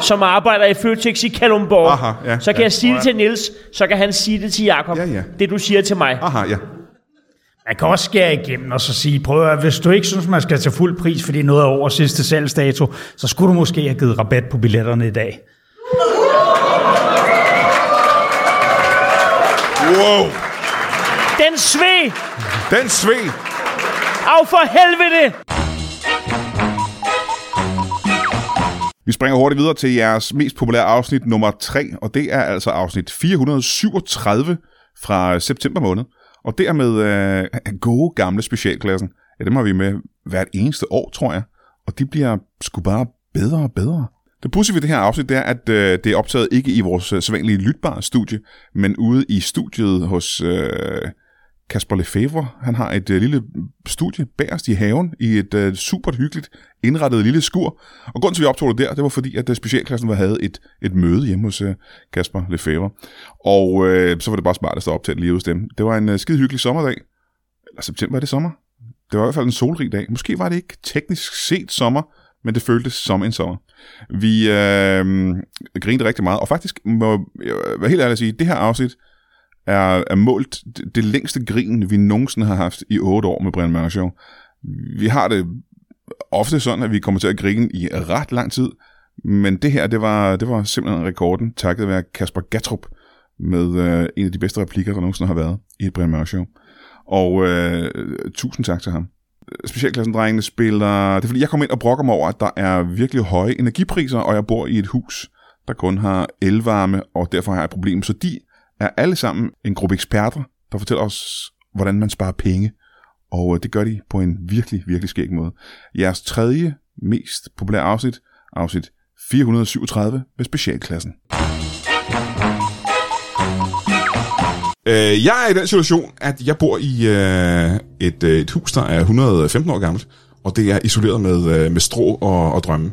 [SPEAKER 5] som arbejder i Føtex i Kalundborg.
[SPEAKER 1] Aha, ja,
[SPEAKER 5] så kan
[SPEAKER 1] ja.
[SPEAKER 5] jeg sige det til Nils, så kan han sige det til Jakob.
[SPEAKER 1] Ja, ja.
[SPEAKER 5] Det, du siger til mig.
[SPEAKER 1] Aha, ja.
[SPEAKER 4] Man kan også skære igennem og så sige, prøv at høre, hvis du ikke synes, man skal tage fuld pris, fordi noget er over sidste salgsdato, så skulle du måske have givet rabat på billetterne i dag.
[SPEAKER 1] Wow!
[SPEAKER 5] Den sved!
[SPEAKER 1] Den sved!
[SPEAKER 5] Af for helvede!
[SPEAKER 1] Vi springer hurtigt videre til jeres mest populære afsnit nummer 3, og det er altså afsnit 437 fra september måned. Og det er med øh, gode gamle specialklassen. Ja, dem har vi med hvert eneste år, tror jeg. Og de bliver sgu bare bedre og bedre. Det pudsige ved det her afsnit, det er, at øh, det er optaget ikke i vores øh, sædvanlige lytbare studie, men ude i studiet hos øh, Kasper Lefevre, han har et øh, lille studie bagerst i haven i et øh, super hyggeligt indrettet lille skur. Og grunden til, at vi optog det der, det var fordi, at øh, specialklassen var- havde et, et møde hjemme hos øh, Kasper Lefevre. Og øh, så var det bare smartest at optage det lige hos dem. Det var en øh, skide hyggelig sommerdag. Eller september er det sommer. Det var i hvert fald en solrig dag. Måske var det ikke teknisk set sommer, men det føltes som en sommer. Vi øh, grinede rigtig meget, og faktisk må jeg være helt ærlig at sige, det her afsnit, er, er målt det, det længste grin, vi nogensinde har haft i 8 år med Brian Mørk Show. Vi har det ofte sådan, at vi kommer til at grine i ret lang tid, men det her, det var, det var simpelthen rekorden, takket være Kasper Gatrup, med øh, en af de bedste replikker, der nogensinde har været i et Brian Mørk Show. Og øh, tusind tak til ham. Specialklassen-drengene spiller... Det er fordi, jeg kom ind og brokker mig over, at der er virkelig høje energipriser, og jeg bor i et hus, der kun har elvarme, og derfor har jeg et problem. Så de er alle sammen en gruppe eksperter, der fortæller os, hvordan man sparer penge. Og øh, det gør de på en virkelig, virkelig skæg måde. Jeres tredje mest populære afsnit, afsnit 437 med specialklassen. Øh, jeg er i den situation, at jeg bor i øh, et, øh, et hus, der er 115 år gammelt, og det er isoleret med, øh, med strå og, og drømme.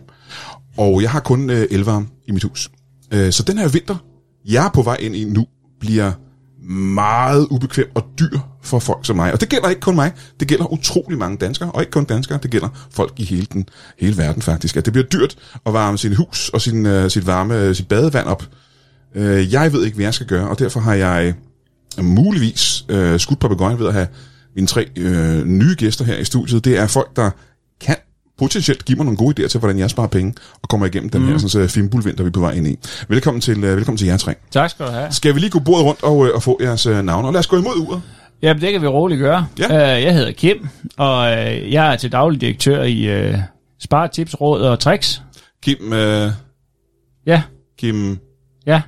[SPEAKER 1] Og jeg har kun øh, elvarme i mit hus. Øh, så den her vinter, jeg er på vej ind i nu, bliver meget ubekvem og dyr for folk som mig. Og det gælder ikke kun mig, det gælder utrolig mange danskere, og ikke kun danskere, det gælder folk i hele, den, hele verden faktisk. At det bliver dyrt at varme sit hus og sin, øh, sit varme sit badevand op. Øh, jeg ved ikke, hvad jeg skal gøre, og derfor har jeg muligvis øh, skudt papegøjen ved at have mine tre øh, nye gæster her i studiet. Det er folk, der kan potentielt give mig nogle gode idéer til, hvordan jeg sparer penge og kommer igennem
[SPEAKER 6] Mhm.
[SPEAKER 1] den her sådan, så fimbulvinter, vi er på vej ind i. Velkommen til, øh, velkommen til jer tre.
[SPEAKER 6] Tak skal du have.
[SPEAKER 1] Skal vi lige gå bordet rundt og, øh, og få jeres øh, navne? Og lad os gå imod uret.
[SPEAKER 6] Ja, det kan vi roligt gøre.
[SPEAKER 1] Ja.
[SPEAKER 6] Øh, jeg hedder Kim, og øh, jeg er til daglig direktør i øh, Spar Tips, Råd og Tricks.
[SPEAKER 1] Kim, øh,
[SPEAKER 6] Ja,
[SPEAKER 1] Kim,
[SPEAKER 6] ja.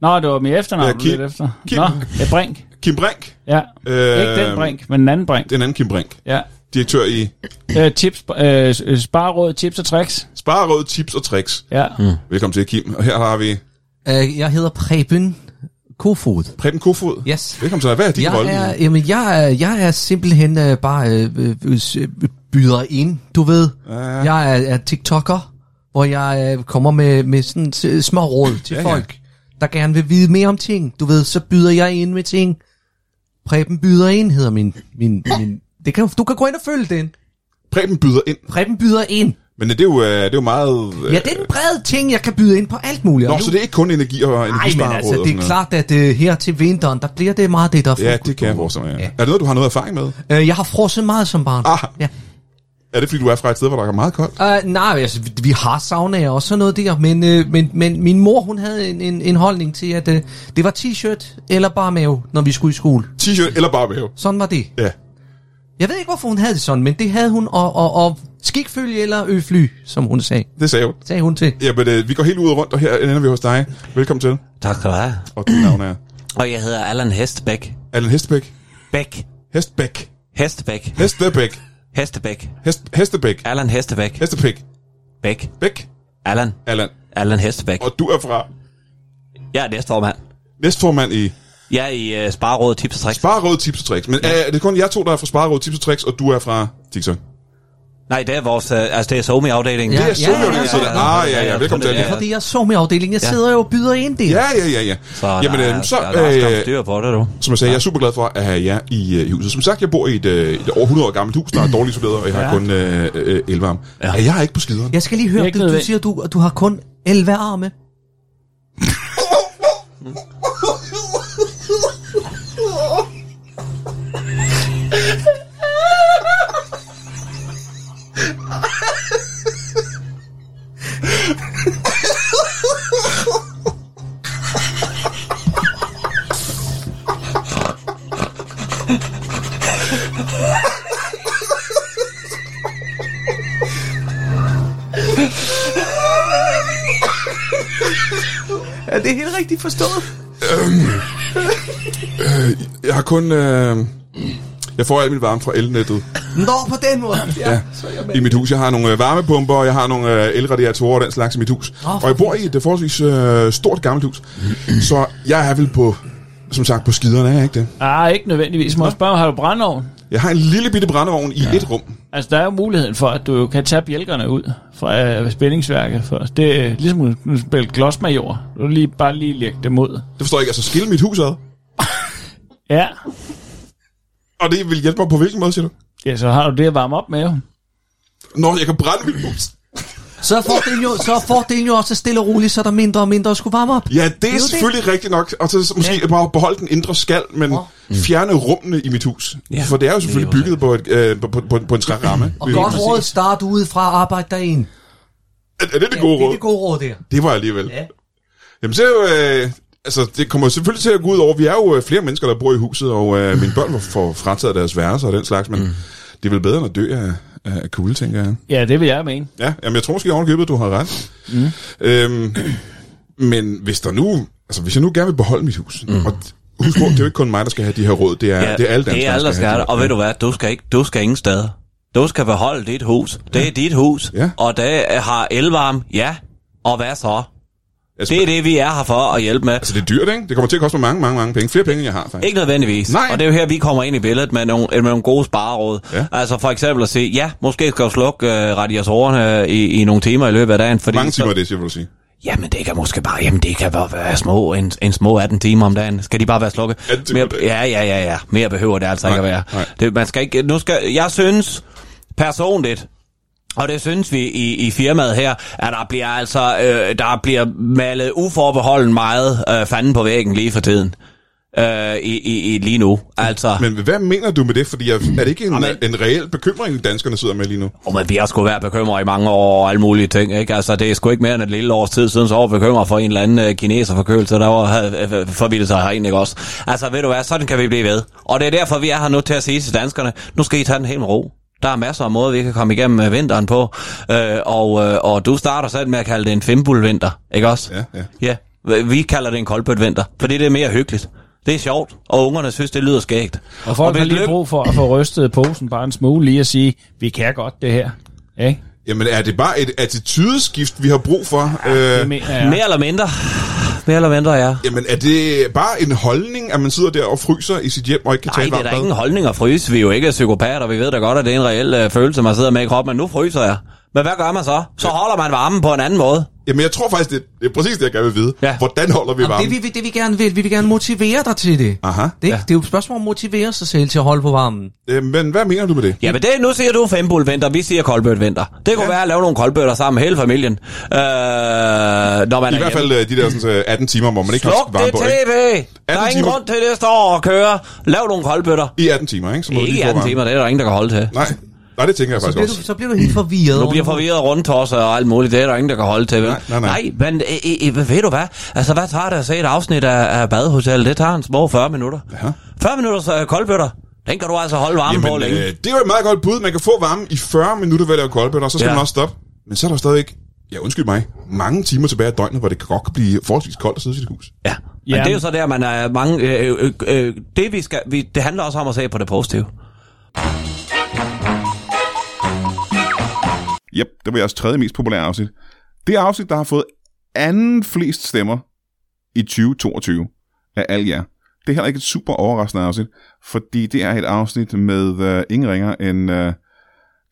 [SPEAKER 6] Nå, det var mit efternavn,
[SPEAKER 1] Ja,
[SPEAKER 6] ja,
[SPEAKER 1] Kim-
[SPEAKER 6] lidt efter.
[SPEAKER 1] Kim-
[SPEAKER 6] Nå, jeg Brink.
[SPEAKER 1] Kim Brink.
[SPEAKER 6] Ja,
[SPEAKER 1] Øh,
[SPEAKER 6] ikke den Brink, men den anden Brink.
[SPEAKER 1] Den anden Kim Brink.
[SPEAKER 6] Ja.
[SPEAKER 1] Direktør i
[SPEAKER 6] Øh, tips, øh, øh, Sparråd, Tips og Tricks.
[SPEAKER 1] Spareråd Tips og Tricks.
[SPEAKER 6] Ja.
[SPEAKER 1] Velkommen til, Kim. Og her har vi
[SPEAKER 7] Øh, jeg hedder Preben Kofod.
[SPEAKER 1] Preben Kofod.
[SPEAKER 7] Yes.
[SPEAKER 1] Velkommen til dig. Hvad er din
[SPEAKER 7] Jeg
[SPEAKER 1] rolle?
[SPEAKER 7] er, jamen, jeg er, jeg er simpelthen øh, bare øh, øh, øh, byder ind, du ved.
[SPEAKER 1] Ja, ja.
[SPEAKER 7] Jeg er, er TikToker, hvor jeg øh, kommer med, med sådan s- øh, små råd til
[SPEAKER 1] Ja,
[SPEAKER 7] ja,
[SPEAKER 1] ja.
[SPEAKER 7] folk, der gerne vil vide mere om ting. Du ved, så byder jeg ind med ting. Preben byder ind, hedder min... min, min det kan, du kan gå ind og følge den.
[SPEAKER 1] Preben byder ind.
[SPEAKER 7] Preben byder ind.
[SPEAKER 1] Men det er jo, øh, det er jo meget... øh,
[SPEAKER 7] Ja, det er en bred ting, jeg kan byde ind på alt muligt.
[SPEAKER 1] Nå,
[SPEAKER 7] Og nu-
[SPEAKER 1] så det er ikke kun energi og
[SPEAKER 7] Ej, men
[SPEAKER 1] energispareråd?
[SPEAKER 7] altså,
[SPEAKER 1] og
[SPEAKER 7] det
[SPEAKER 1] sådan
[SPEAKER 7] er
[SPEAKER 1] noget.
[SPEAKER 7] klart, at uh, her til vinteren, der bliver det meget det, der er
[SPEAKER 1] Ja,
[SPEAKER 7] fokus
[SPEAKER 1] det kan jeg
[SPEAKER 7] på.
[SPEAKER 1] forestille mig. Ja. Er det noget, du har noget erfaring med?
[SPEAKER 7] Øh, jeg har frosset meget som barn.
[SPEAKER 1] Ah.
[SPEAKER 7] Ja.
[SPEAKER 1] Er det, fordi du er fra et sted, hvor der er meget koldt?
[SPEAKER 7] Uh, nej, altså, vi- vi har saunaer og sådan noget der, men, uh, men, men min mor, hun havde en, en, en holdning til, at uh, det var t-shirt eller bare mave, når vi skulle i skole.
[SPEAKER 1] T-shirt eller bare mave?
[SPEAKER 7] Sådan var det.
[SPEAKER 1] Ja.
[SPEAKER 7] Jeg ved ikke, hvorfor hun havde det sådan, men det havde hun, og, og, og skikfølge eller øfly, som hun sagde,
[SPEAKER 1] Det sagde hun.
[SPEAKER 7] sagde hun til.
[SPEAKER 1] Jamen, øh, vi går helt ud og rundt, og her ender vi hos dig. Velkommen til.
[SPEAKER 8] Tak skal du have.
[SPEAKER 1] Og dit navn er
[SPEAKER 8] Og jeg hedder Allan Hestbæk.
[SPEAKER 1] Allan Hestebæk.
[SPEAKER 8] Bæk.
[SPEAKER 1] Hestbæk.
[SPEAKER 8] Hestebæk.
[SPEAKER 1] Hestebæk.
[SPEAKER 8] Hestebæk.
[SPEAKER 1] Hest, Hestebæk.
[SPEAKER 8] Allan Hestebæk.
[SPEAKER 1] Hestebæk.
[SPEAKER 8] Bæk.
[SPEAKER 1] Bæk.
[SPEAKER 8] Allan.
[SPEAKER 1] Allan.
[SPEAKER 8] Allan Hestebæk.
[SPEAKER 1] Og du er fra
[SPEAKER 8] Jeg er næstformand.
[SPEAKER 1] næstformand i
[SPEAKER 8] Jeg er i uh, Sparråd Tips og Tricks.
[SPEAKER 1] Spareråd Tips og Tricks. Men ja. er det kun jer to, der er fra Spareråd Tips og Tricks, og du er fra TikTok?
[SPEAKER 8] Nej, det er vores, uh, altså det er SoMe-afdelingen.
[SPEAKER 7] Det
[SPEAKER 1] Ja,
[SPEAKER 7] er
[SPEAKER 1] ja, ja, ja, ja. Ah, ja, ja, velkommen til.
[SPEAKER 8] Ja,
[SPEAKER 7] Fordi jeg så med afdelingen, jeg
[SPEAKER 8] Ja.
[SPEAKER 7] sidder jo og byder ind der.
[SPEAKER 1] Ja, ja, ja, ja.
[SPEAKER 8] Så Jamen,
[SPEAKER 1] Jamen,
[SPEAKER 8] der,
[SPEAKER 1] øh, så,
[SPEAKER 8] der, der, er skam
[SPEAKER 1] øh,
[SPEAKER 8] styr på det, du.
[SPEAKER 1] som jeg sagde, jeg er super glad for at have jer i, øh, i huset. Som sagt, jeg bor i et, øh, et over 100 år gammelt hus, der er dårligt isoleret, og jeg har ja. kun øh, øh, elvarme. Ja. Er jeg ikke på skideren?
[SPEAKER 7] Jeg skal lige høre,
[SPEAKER 6] Det er
[SPEAKER 7] du, du
[SPEAKER 6] ikke
[SPEAKER 7] siger, du, du har kun 11 arme. Er det helt rigtigt forstået?
[SPEAKER 1] Jeg har kun... Øh, jeg får alt mit varme fra elnettet.
[SPEAKER 7] Nå, på den måde.
[SPEAKER 1] Ja, i mit hus. Jeg har nogle øh, varmepumper, og jeg har nogle øh, elradiatorer og den slags i mit hus.
[SPEAKER 7] for
[SPEAKER 1] Oh, og jeg bor i et øh, forholdsvis øh, stort gammelt hus. så jeg er vel på, som sagt, på skiderne, er jeg ikke det?
[SPEAKER 6] Ah, ikke nødvendigvis. Må jeg spørge, har du brandovn?
[SPEAKER 1] Jeg har en lille bitte brændeovn i ja. et rum.
[SPEAKER 6] Altså, der er jo muligheden for, at du kan tage bjælkerne ud fra uh, spændingsværket først. Det er ligesom at du spille klodsmajor. Du kan lige, bare lige lægge dem ud.
[SPEAKER 1] Det forstår jeg ikke. Altså, skille mit hus ad.
[SPEAKER 6] Ja.
[SPEAKER 1] Og det vil hjælpe mig på hvilken måde, siger du?
[SPEAKER 6] ja, så har du det at varme op med jo.
[SPEAKER 1] Nå, jeg kan brænde mit hus.
[SPEAKER 7] Så er fordelen jo, så er fordelen jo også at stille og roligt, så er der mindre og mindre at skulle varme op.
[SPEAKER 1] Ja, det er, det
[SPEAKER 7] jo
[SPEAKER 1] er
[SPEAKER 7] det.
[SPEAKER 1] selvfølgelig det. rigtigt nok. Og så måske ja. bare beholde den indre skal, men Mm. fjerne rummene i mit hus. Ja. For det er jo selvfølgelig bygget på, et, øh, på, på, på, på en træramme.
[SPEAKER 7] Og godt råd, start udefra og arbejde derind.
[SPEAKER 1] Er, er det det gode
[SPEAKER 7] Det er
[SPEAKER 1] råd?
[SPEAKER 7] det gode råd der.
[SPEAKER 1] Det var jeg alligevel. Ja. Jamen så er jo, øh, altså det kommer selvfølgelig til at gå ud over, vi er jo øh, flere mennesker, der bor i huset, og øh, mine børn får frataget deres værelser og den slags, men mm. det er vel bedre end at dø af, af af kulde, tænker jeg.
[SPEAKER 6] Ja, det vil jeg mene.
[SPEAKER 1] Ja, jamen jeg tror måske ovenkøbet, du har ret. Mm. Øhm, men hvis der nu, altså hvis jeg nu gerne vil beholde mit hus, mm. og husk på, det er jo ikke kun mig, der skal have de her råd, det er, ja, det er alle danskere,
[SPEAKER 8] det er alle, der skal have det. Og ved du hvad, du skal, ikke, du skal ingen steder. Du skal beholde dit hus. Det er dit hus.
[SPEAKER 1] Ja.
[SPEAKER 8] Og det øh, har elvarme, ja. Og hvad så?
[SPEAKER 1] Altså,
[SPEAKER 8] Det er det, vi er her for at hjælpe med.
[SPEAKER 1] altså det er dyrt, ikke? Det kommer til at koste mig mange, mange, mange penge. Flere penge, end jeg har, faktisk.
[SPEAKER 8] Ikke nødvendigvis.
[SPEAKER 1] Nej.
[SPEAKER 8] Og det er jo her, vi kommer ind i billedet med nogle, med nogle gode spareråd.
[SPEAKER 1] Ja.
[SPEAKER 8] Altså for eksempel at sige, ja, måske skal du slukke øh, radiatorerne i, i nogle timer i løbet af dagen. Fordi
[SPEAKER 1] Mange timer
[SPEAKER 8] Så,
[SPEAKER 1] af det, siger du sige.
[SPEAKER 8] jamen det kan måske bare, jamen det kan bare være små, en, en små 18 timer om dagen. Skal de bare være slukket?
[SPEAKER 1] 18 timer
[SPEAKER 8] Mere,
[SPEAKER 1] om dagen.
[SPEAKER 8] ja, ja, ja, ja. Mere behøver det altså
[SPEAKER 1] Nej,
[SPEAKER 8] ikke at være.
[SPEAKER 1] nej.
[SPEAKER 8] Det, man skal ikke, nu skal, jeg synes personligt, og det synes vi i, i firmaet her, at der bliver altså øh, der bliver malet uforbeholden meget øh, fanden på væggen lige for tiden. øh, i, i, i lige nu. Altså, men,
[SPEAKER 1] Men hvad mener du med det? Fordi jeg, er det ikke en, en reel bekymring, danskerne sidder med lige nu?
[SPEAKER 8] oh, men vi har sgu været bekymret i mange år og alle mulige ting. Ikke? Altså, det er sgu ikke mere end et lille års tid siden, så var vi bekymret for en eller anden øh, kineser forkølelse, der var, havde øh, forvildet sig herinde, ikke også? Altså, ved du hvad, sådan kan vi blive ved. Og det er derfor, vi er her nu til at sige til danskerne, nu skal I tage den helt med ro. Der er masser af måder, vi kan komme igennem øh, vinteren på. Øh, og, øh, og du starter selv med at kalde det en fimbulvinter, ikke også?
[SPEAKER 1] Ja, ja.
[SPEAKER 8] Ja, vi kalder det en koldbøtvinter, fordi det er mere hyggeligt. Det er sjovt, og ungerne synes, det lyder skægt.
[SPEAKER 6] Og folk
[SPEAKER 8] hvis
[SPEAKER 6] har lige
[SPEAKER 8] lyk-
[SPEAKER 6] brug for at få rystet posen bare en smule lige at sige, vi kan godt det her. Ikke?
[SPEAKER 1] Jamen, er det bare et attitydeskift, vi har brug for? Ja,
[SPEAKER 6] Det
[SPEAKER 1] øh,
[SPEAKER 6] mener jeg.
[SPEAKER 8] Mere eller mindre. Mere eller mindre, ja.
[SPEAKER 1] jamen, er det bare en holdning, at man sidder der og fryser i sit hjem og ikke kan
[SPEAKER 8] Nej,
[SPEAKER 1] tale
[SPEAKER 8] det er da
[SPEAKER 1] varmt
[SPEAKER 8] ingen
[SPEAKER 1] mad?
[SPEAKER 8] holdning at fryse. Vi er jo ikke psykopater. Vi ved da godt, at det er en reel øh, følelse, man sidder med i kroppen. Men nu fryser jeg. Men hvad gør man så? Så holder man varmen på en anden måde.
[SPEAKER 1] Jamen, jeg tror faktisk, det er, det er præcis det, jeg gerne vil vide.
[SPEAKER 8] Ja.
[SPEAKER 1] Hvordan holder vi
[SPEAKER 7] Jamen,
[SPEAKER 1] varmen?
[SPEAKER 7] det, vi, det vi gerne vil, vi vil gerne motivere dig til det.
[SPEAKER 1] Aha.
[SPEAKER 7] Det, ja. det er jo et spørgsmål om at motivere sig selv til at holde på varmen.
[SPEAKER 1] Øh, men hvad mener du med det?
[SPEAKER 8] Ja, men det, nu siger du fembulvinter, vi siger koldbøtvinter. Det kunne ja. være at lave nogle koldbøtter sammen med hele familien. Øh, når man
[SPEAKER 1] I hvert fald øh, de der sådan, så 18 timer, hvor man ikke har
[SPEAKER 8] Sluk
[SPEAKER 1] varme
[SPEAKER 8] det
[SPEAKER 1] på. Ikke?
[SPEAKER 8] tv! Der er ingen
[SPEAKER 1] timer.
[SPEAKER 8] grund til, at det står og kører. Lav nogle koldbøtter.
[SPEAKER 1] I 18 timer, ikke? Så må du lige
[SPEAKER 8] Ikke
[SPEAKER 1] få
[SPEAKER 8] 18
[SPEAKER 1] varmen.
[SPEAKER 8] timer, det er der ingen, der kan holde til.
[SPEAKER 1] Nej, nej det tænker jeg
[SPEAKER 7] Så
[SPEAKER 1] faktisk
[SPEAKER 7] bliver,
[SPEAKER 1] også.
[SPEAKER 7] du, så bliver du helt forvirret.
[SPEAKER 8] Du bliver forvirret rundt os og alt muligt. Det er der ingen, der kan holde til. Vel?
[SPEAKER 1] Nej, nej, nej.
[SPEAKER 8] nej men øh, øh, øh, ved du hvad? Altså, hvad tager det at se et afsnit af, af Badehotel? Det tager en små 40 minutter. Ja. 40 minutters øh, koldbøtter. Den kan du altså holde varmen på
[SPEAKER 1] Jamen,
[SPEAKER 8] længe.
[SPEAKER 1] øh, det er jo et meget godt bud. Man kan få varme i 40 minutter ved at lave koldbøtter, og så skal ja.
[SPEAKER 8] Ja.
[SPEAKER 1] man også stoppe. Men så er der stadigvæk, ja undskyld mig, mange timer tilbage af døgnet, hvor det kan godt kan blive forholdsvis koldt at sidde i sit hus.
[SPEAKER 8] Ja. Men
[SPEAKER 6] Ja.
[SPEAKER 8] det er jo så der, man er mange... Øh, øh, øh, det, vi skal, vi, det handler også om at se på det positive.
[SPEAKER 1] Yep, det var jeres tredje mest populære afsnit. Det er afsnit, der har fået anden flest stemmer i 2022 af alle jer. Det er heller ikke et super overraskende afsnit, fordi det er et afsnit med uh, ingen ringer end uh,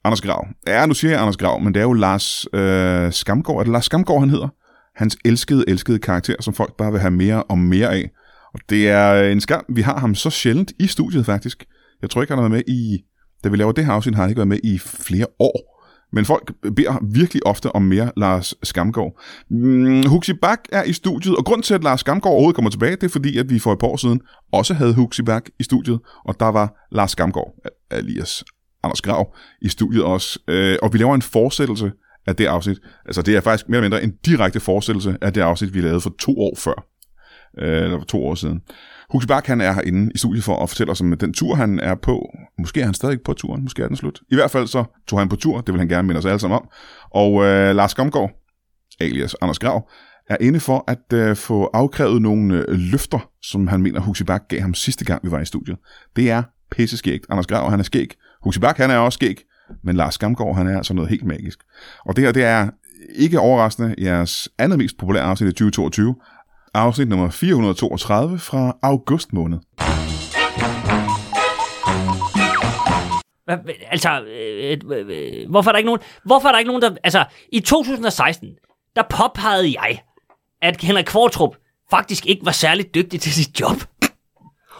[SPEAKER 1] Anders Grav. Ja, nu siger jeg Anders Grav, men det er jo Lars uh, Skamgaard. Er det Lars Skamgaard, han hedder? Hans elskede, elskede karakter, som folk bare vil have mere og mere af. Og det er øh, en skam, vi har ham så sjældent i studiet faktisk. Jeg tror ikke, han har været med i... Da vi laver det her afsnit, har han ikke været med i flere år. Men folk beder virkelig ofte om mere Lars Skamgaard. Mm, Huxi Bak er i studiet, og grund til, at Lars Skamgaard overhovedet kommer tilbage, det er fordi, at vi for et par år siden også havde Huxi Bak i studiet, og der var Lars Skamgaard, alias Anders Grav, i studiet også. Øh, Og vi laver en fortsættelse af det afsnit. Altså det er faktisk mere eller mindre en direkte fortsættelse af det afsnit, vi lavede for to år før. Øh, Eller for to år siden. Huxi Bak, han er herinde i studiet for at fortælle os om den tur, han er på. Måske er han stadig på turen, måske er den slut. I hvert fald så tog han på tur, det vil han gerne minde os alle sammen om. Og øh, Lars Gomgaard, alias Anders Grav, er inde for at øh, få afkrævet nogle øh, løfter, som han mener, Huxi Bak gav ham sidste gang, vi var i studiet. Det er pisseskægt. Anders Grav, han er skæg. Huxi Bak, han er også skæg. Men Lars Skamgaard, han er altså noget helt magisk. Og det her, det er ikke overraskende jeres andet mest populære afsnit i 2022. Afsnit nummer 432 fra august måned.
[SPEAKER 9] Hvad, altså, øh, øh, øh, hvorfor er der ikke nogen, hvorfor er der ikke nogen, der... Altså, i 2016, der påpegede jeg, at Henrik Kvartrup faktisk ikke var særlig dygtig til sit job.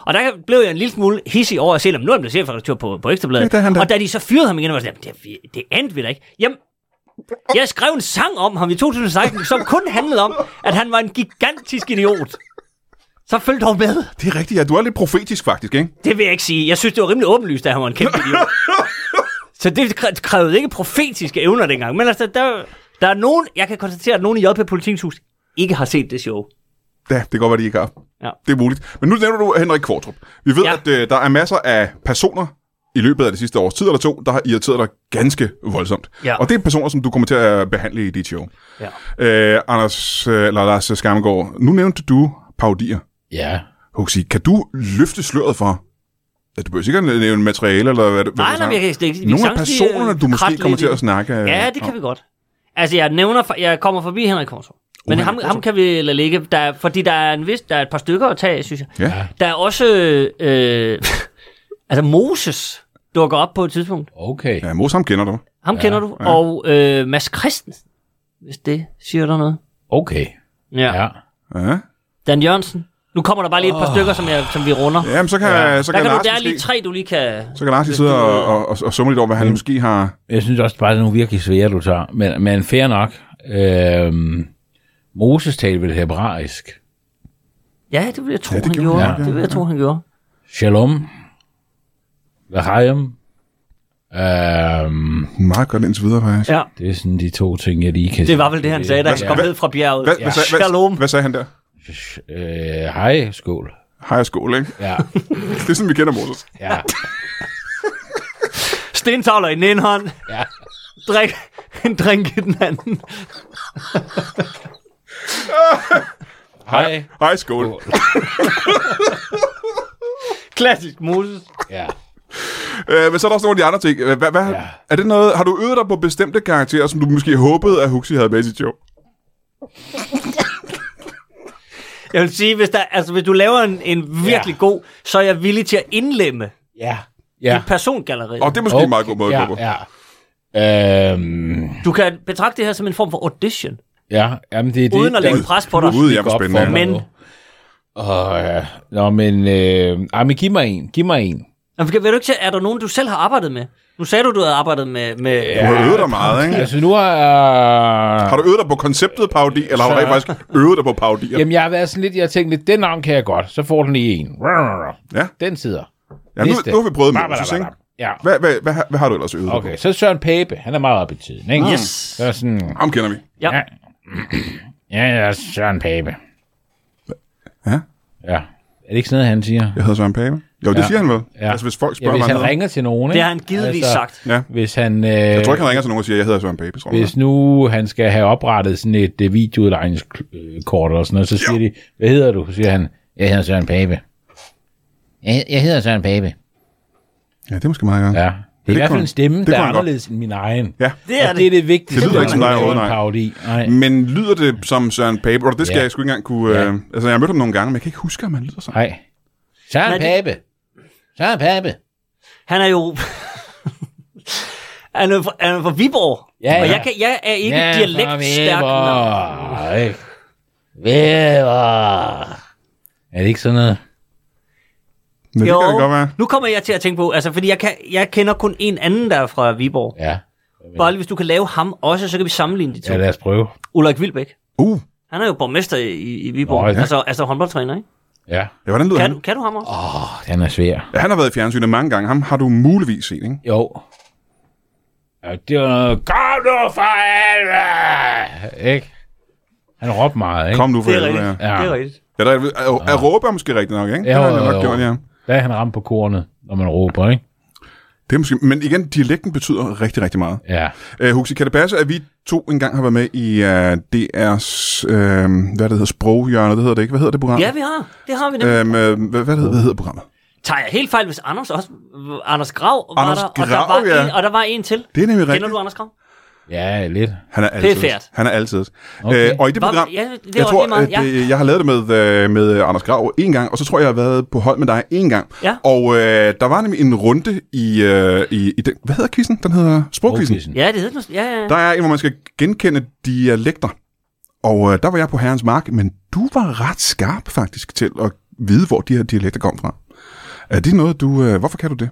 [SPEAKER 9] Og der blev jeg en lille smule hissig over at se, at nu er han blevet chefredaktør på, på Ekstrabladet.
[SPEAKER 1] Ja, det er han da.
[SPEAKER 9] og da de så fyrede ham igen, var jeg sådan, "Jamen, det, det endte vi da ikke. Jamen, jeg skrev en sang om ham i 2016, som kun handlede om, at han var en gigantisk idiot. Så følg dog med.
[SPEAKER 1] Det er rigtigt, ja. Du er lidt profetisk faktisk, ikke?
[SPEAKER 9] Det vil jeg ikke sige. Jeg synes, det var rimelig åbenlyst, at han var en kæmpe idiot. Så det kræ- krævede ikke profetiske evner dengang. Men altså, der, der er nogen, jeg kan konstatere, at nogen i JP Politikens Hus ikke har set det show.
[SPEAKER 1] Ja, det kan godt være, de ikke har.
[SPEAKER 9] Ja.
[SPEAKER 1] Det er muligt. Men nu nævner du Henrik Kvartrup. Vi ved, ja.
[SPEAKER 9] Ja.
[SPEAKER 1] at øh, der er masser af personer i løbet af det sidste års tid eller to, der har irriteret dig ganske voldsomt.
[SPEAKER 9] Ja.
[SPEAKER 1] Og det er personer, som du kommer til at behandle i dit show.
[SPEAKER 9] Ja.
[SPEAKER 1] Øh, Anders, øh, eller Lars Skamgaard, nu nævnte du paudier.
[SPEAKER 6] Ja.
[SPEAKER 1] Huxi, kan du løfte sløret for, at du behøver sikkert nævne materiale, eller hvad, hvad
[SPEAKER 9] Nej,
[SPEAKER 1] du
[SPEAKER 9] nej, men jeg kan ikke- det- vi
[SPEAKER 1] Nogle af
[SPEAKER 9] sagtens lige, øh,
[SPEAKER 1] personerne, du måske
[SPEAKER 9] kratte
[SPEAKER 1] kommer
[SPEAKER 9] lidt
[SPEAKER 1] til
[SPEAKER 9] i
[SPEAKER 1] at
[SPEAKER 9] det.
[SPEAKER 1] snakke øh,
[SPEAKER 9] Ja, det kan vi godt. Altså, jeg nævner, for- jeg kommer forbi Henrik Kortrup. Men
[SPEAKER 1] Henrik
[SPEAKER 9] ham,
[SPEAKER 1] Qvortrup.
[SPEAKER 9] ham kan vi lade ligge, der, er- fordi der er, en vis, der er et par stykker at tage, synes jeg.
[SPEAKER 1] Ja.
[SPEAKER 9] Der er også, øh, altså Moses dukker op på et tidspunkt.
[SPEAKER 10] Okay.
[SPEAKER 1] Ja, Mos, ham kender du.
[SPEAKER 9] Ham ja, kender du. Ja. Og øh, Mads Christensen, hvis det siger dig noget.
[SPEAKER 10] Okay.
[SPEAKER 9] Ja.
[SPEAKER 10] Ja.
[SPEAKER 1] Ja.
[SPEAKER 9] Dan Jørgensen. Nu kommer der bare lige et par stykker, som, jeg, som vi runder. Ja,
[SPEAKER 1] Jamen, så kan, ja. så
[SPEAKER 9] der,
[SPEAKER 1] kan,
[SPEAKER 9] kan du,
[SPEAKER 1] Lars
[SPEAKER 9] der er lige
[SPEAKER 1] måske-
[SPEAKER 9] tre, du lige kan...
[SPEAKER 1] Så kan Lars lige sidde og, og, og, og summe lidt over, hvad han måske har...
[SPEAKER 10] Jeg synes også bare, det er nogle virkelig svære, du tager. Men, men fair nok. Øhm, Moses talte vel hebraisk.
[SPEAKER 9] Ja, det vil jeg tro,
[SPEAKER 1] Ja, det
[SPEAKER 9] han
[SPEAKER 1] gjorde
[SPEAKER 9] gjorde.
[SPEAKER 1] han, ja.
[SPEAKER 9] Det vil jeg tro, han gjorde.
[SPEAKER 10] Shalom. Lahayim. Øhm,
[SPEAKER 1] Meget godt indtil videre, faktisk.
[SPEAKER 9] Ja,
[SPEAKER 10] det er sådan de to ting, jeg lige kan
[SPEAKER 9] det var vel det, han sagde, da han
[SPEAKER 1] Hvad-
[SPEAKER 9] kom
[SPEAKER 1] hvad-
[SPEAKER 9] ned fra bjerget.
[SPEAKER 1] Hvad, hvad, sagde-
[SPEAKER 9] Shalom.
[SPEAKER 1] hvad, hvad sagde han der?
[SPEAKER 10] Øh, hej, skål.
[SPEAKER 1] Hej og skål, ikke?
[SPEAKER 10] Ja,
[SPEAKER 1] Det er sådan, vi kender Moses.
[SPEAKER 10] ja.
[SPEAKER 9] Stentavler i den ene hånd.
[SPEAKER 10] Ja.
[SPEAKER 9] Drik, en drink i den anden.
[SPEAKER 10] Hej.
[SPEAKER 1] Hej, skål.
[SPEAKER 9] Klassisk Moses.
[SPEAKER 10] Ja.
[SPEAKER 1] Øh, men så er der også nogle af de andre ting. Hvad, hvad,
[SPEAKER 10] Ja.
[SPEAKER 1] er det noget, har du øvet dig på bestemte karakterer, som du måske håbede, at Huxi havde med i sit show?
[SPEAKER 9] Jeg vil sige, hvis, der, altså, hvis du laver en, en virkelig god, så er jeg villig til at indlemme
[SPEAKER 10] Ja.
[SPEAKER 9] ja.
[SPEAKER 10] Ja.
[SPEAKER 9] dit persongalleriet.
[SPEAKER 1] Og det er måske okay. en meget god måde at gå på.
[SPEAKER 10] ja, ja. Øhm,
[SPEAKER 9] Du kan betragte det her som en form for audition,
[SPEAKER 10] ja, jamen det er det.
[SPEAKER 9] uden at
[SPEAKER 10] der-
[SPEAKER 9] lægge pres på dig.
[SPEAKER 1] Gud, jeg
[SPEAKER 10] gik
[SPEAKER 1] var
[SPEAKER 10] op for
[SPEAKER 1] spændende.
[SPEAKER 10] mig
[SPEAKER 9] Men-
[SPEAKER 10] nu. Åh, ja. Nå, men... Øh, ej, men giv mig en. Giv mig en.
[SPEAKER 9] Jamen, kan- Vil du ikke sige, er der nogen, du selv har arbejdet med? Nu sagde du, du havde arbejdet med... med
[SPEAKER 1] Du har øvet dig meget, ikke?
[SPEAKER 10] Altså, nu har jeg...
[SPEAKER 1] Har du øvet dig på konceptet parodi, eller har du
[SPEAKER 10] Så-
[SPEAKER 1] rent faktisk øvet dig på parodier?
[SPEAKER 10] Jamen, jeg har været sådan lidt... Jeg har tænkt lidt, den arm kan jeg godt. Så får den lige en.
[SPEAKER 1] Ja.
[SPEAKER 10] Den sidder.
[SPEAKER 1] Ja, nu,
[SPEAKER 10] Næste.
[SPEAKER 1] nu har vi prøvet med
[SPEAKER 10] Bla, bla,
[SPEAKER 1] Moses,
[SPEAKER 10] bla,
[SPEAKER 1] ikke?
[SPEAKER 10] bla. Ja.
[SPEAKER 1] Hvad, hvad, hvad, hvad har du ellers øvet dig på?
[SPEAKER 10] Okay, så Søren Pape, han er meget oppe i tiden, ikke?
[SPEAKER 1] Mm.
[SPEAKER 9] Yes.
[SPEAKER 10] Så er sådan,
[SPEAKER 1] Ham kender vi.
[SPEAKER 9] ja.
[SPEAKER 10] ja, ja, Søren Pape.
[SPEAKER 1] Ja.
[SPEAKER 10] Ja. Er det ikke sådan noget, han siger?
[SPEAKER 1] Jeg hedder Søren Pape. Jo, det
[SPEAKER 10] Ja.
[SPEAKER 1] siger han vel.
[SPEAKER 10] Ja.
[SPEAKER 1] Altså, hvis folk
[SPEAKER 10] Ja,
[SPEAKER 1] spørger
[SPEAKER 10] hvis
[SPEAKER 1] mig,
[SPEAKER 10] han ringer til nogen, ikke?
[SPEAKER 9] Det har han givetvis
[SPEAKER 10] Altså,
[SPEAKER 9] sagt.
[SPEAKER 1] Ja.
[SPEAKER 10] Hvis han... Øh,
[SPEAKER 1] Jeg tror ikke, han ringer til nogen og siger, jeg hedder Søren Pape, tror jeg.
[SPEAKER 10] Hvis nu han skal have oprettet sådan et øh, videoudlejningskort og sådan noget, så siger de, hvad hedder du? Så siger han, jeg hedder Søren Pape. Jeg, jeg hedder Søren Pape.
[SPEAKER 1] Ja, det er måske meget godt.
[SPEAKER 10] Ja. Det er i
[SPEAKER 1] det
[SPEAKER 10] hvert
[SPEAKER 1] kunne
[SPEAKER 10] fald en
[SPEAKER 1] han-
[SPEAKER 10] stemme,
[SPEAKER 1] det
[SPEAKER 10] der er
[SPEAKER 1] kunne han godt.
[SPEAKER 10] anderledes end min egen.
[SPEAKER 1] Ja.
[SPEAKER 9] Det er
[SPEAKER 10] og det er
[SPEAKER 9] det.
[SPEAKER 10] det vigtigste.
[SPEAKER 1] Det lyder ikke som
[SPEAKER 10] når man
[SPEAKER 1] dig,
[SPEAKER 10] laver en
[SPEAKER 1] nej.
[SPEAKER 10] Parodi. Nej.
[SPEAKER 1] Men lyder det som Søren Pape? Og det skal
[SPEAKER 10] Ja.
[SPEAKER 1] jeg sgu ikke engang kunne... Øh, altså, jeg har mødt ham nogle gange, men jeg kan ikke huske, om han lyder sådan.
[SPEAKER 10] Nej. Søren
[SPEAKER 9] Nej,
[SPEAKER 10] Pape. Søren Pape.
[SPEAKER 9] Han er jo... han, er fra, han er fra Viborg.
[SPEAKER 10] Ja,
[SPEAKER 9] og
[SPEAKER 10] ja.
[SPEAKER 9] jeg, kan, jeg er ikke
[SPEAKER 10] Ja,
[SPEAKER 9] ja, dialektstærk. nok.
[SPEAKER 10] Weber. ikke? Weber. Er det ikke sådan noget?
[SPEAKER 1] Men det kan det godt være.
[SPEAKER 9] nu kommer jeg til at tænke på, altså, fordi jeg, kan, jeg kender kun en anden, der er fra Viborg.
[SPEAKER 10] Ja.
[SPEAKER 9] Bolle, hvis du kan lave ham også, så kan vi sammenligne de to.
[SPEAKER 10] Ja, lad os prøve.
[SPEAKER 9] Ulrik Vilbæk.
[SPEAKER 1] Uh,
[SPEAKER 9] Han er jo borgmester i, i Viborg. Nå,
[SPEAKER 10] Nå, ja.
[SPEAKER 9] ja. Altså, altså håndboldtræner, ikke?
[SPEAKER 10] Ja.
[SPEAKER 1] ja, hvordan lyder
[SPEAKER 9] Kan
[SPEAKER 1] han?
[SPEAKER 9] du, kan du ham også? Oh.
[SPEAKER 10] Den er svær.
[SPEAKER 1] Ja, han har været i fjernsynet mange gange. Ham har du muligvis set, ikke?
[SPEAKER 10] Jo. Ja, det var noget, kom nu for helvede! Ikke? Han råbte meget, ikke?
[SPEAKER 1] Kom nu for
[SPEAKER 9] Det er
[SPEAKER 1] helvede,
[SPEAKER 9] rigtigt.
[SPEAKER 1] ja.
[SPEAKER 10] Ja.
[SPEAKER 9] Ja. Det er rigtigt.
[SPEAKER 1] Ja, der er, er, er råber måske rigtigt nok, ikke?
[SPEAKER 10] Ja,
[SPEAKER 1] det har
[SPEAKER 10] jo,
[SPEAKER 1] han
[SPEAKER 10] jo,
[SPEAKER 1] nok
[SPEAKER 10] jo.
[SPEAKER 1] gjort, ja.
[SPEAKER 10] Der er han ramt på kornet, når man råber, ikke?
[SPEAKER 1] Det er måske, men igen, dialekten betyder rigtig, rigtig meget.
[SPEAKER 10] Ja.
[SPEAKER 1] Øh, Huxi, kan det passe, at vi to engang har været med i uh, DR's, øh, hvad det hedder, sproghjørne, det hedder det ikke? Hvad hedder det program?
[SPEAKER 9] Ja, vi har. Det har vi nemlig.
[SPEAKER 1] Øhm, øh, hvad, hvad, hedder, hvad hedder programmet?
[SPEAKER 9] Tager jeg helt fejl, hvis Anders også... Anders Grav var
[SPEAKER 1] Anders
[SPEAKER 9] der, og,
[SPEAKER 1] Grav,
[SPEAKER 9] der var
[SPEAKER 1] ja.
[SPEAKER 9] en, og der var en til.
[SPEAKER 1] Det er nemlig rigtigt.
[SPEAKER 9] Kender du Anders Grav?
[SPEAKER 10] Ja, lidt.
[SPEAKER 1] Han er altid.
[SPEAKER 9] fært.
[SPEAKER 1] Han er altid. Okay.
[SPEAKER 10] Okay.
[SPEAKER 1] Øh, og i det
[SPEAKER 9] Nå,
[SPEAKER 1] program,
[SPEAKER 9] ja, det er
[SPEAKER 1] jeg
[SPEAKER 9] også
[SPEAKER 1] tror,
[SPEAKER 9] lige meget,
[SPEAKER 1] at øh, jeg har lavet det med, øh, med Anders Grav en gang, og så tror jeg, jeg har været på hold med dig en gang.
[SPEAKER 9] Ja.
[SPEAKER 1] Og øh, der var nemlig en runde i, øh, i, i den, hvad hedder quizzen? Den hedder sprogquizzen.
[SPEAKER 10] Brokisen.
[SPEAKER 9] Ja, det hedder den. Ja, ja, ja.
[SPEAKER 1] Der er en, hvor man skal genkende dialekter. Og øh, der var jeg på herrens mark, men du var ret skarp faktisk til at vide, hvor de her dialekter kom fra. Er det noget, du... Øh, hvorfor kan du det?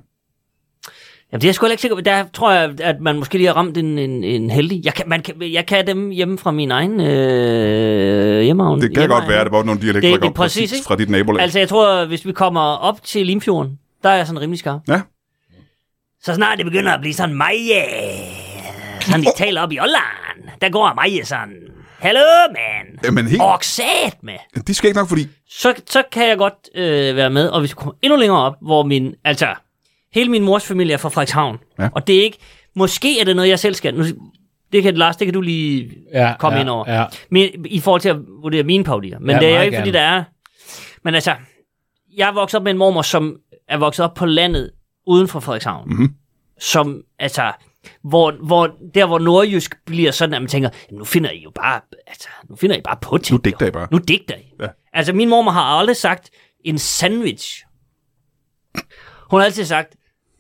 [SPEAKER 9] Jamen, det er jeg sgu heller ikke sikker på. Der tror jeg, at man måske lige har ramt en, en, en heldig. Jeg kan, man kan, jeg kan dem hjemme fra min egen øh, hjemmehavn.
[SPEAKER 1] Det kan godt være, at det var nogle dialekter,
[SPEAKER 9] Det-
[SPEAKER 1] der
[SPEAKER 9] det er
[SPEAKER 1] kom præcis,
[SPEAKER 9] præcis, ikke?
[SPEAKER 1] fra dit nabolag. Altså,
[SPEAKER 9] Altså, jeg tror, hvis vi kommer op til Limfjorden, der er jeg sådan rimelig skarp.
[SPEAKER 1] Ja.
[SPEAKER 9] Så snart det begynder at blive sådan mig, sådan de taler op i Olland, der går mig sådan, Hallo, man!
[SPEAKER 1] Jamen helt...
[SPEAKER 9] Og sat med!
[SPEAKER 1] Det skal ikke nok, fordi...
[SPEAKER 9] så, så kan jeg godt øh, være med. Og hvis vi kommer endnu længere op, hvor min, altså, hele min mors familie er fra Frederikshavn.
[SPEAKER 1] Ja.
[SPEAKER 9] Og det er ikke, måske er det noget, jeg selv skal. Nu, det kan, Lars, det kan du lige
[SPEAKER 10] Ja,
[SPEAKER 9] komme
[SPEAKER 10] ja,
[SPEAKER 9] ind over.
[SPEAKER 10] ja.
[SPEAKER 9] Men, I forhold til at vurdere mine paudier. Men
[SPEAKER 10] Ja,
[SPEAKER 9] ja, det er
[SPEAKER 10] meget
[SPEAKER 9] jo ikke, fordi der
[SPEAKER 10] gerne.
[SPEAKER 9] er... Men altså, jeg er vokset op med en mormor, som er vokset op på landet uden for Frederikshavn. Mm-hmm. Som, altså, hvor, hvor, der hvor nordjysk bliver sådan, at man tænker, "Jamen, nu finder I jo bare, altså, nu finder I bare på ting.
[SPEAKER 1] Nu digter I bare."
[SPEAKER 9] Nu digter I.
[SPEAKER 1] Ja.
[SPEAKER 9] Ja. Altså, min mormor har aldrig sagt en sandwich. Hun har altid sagt,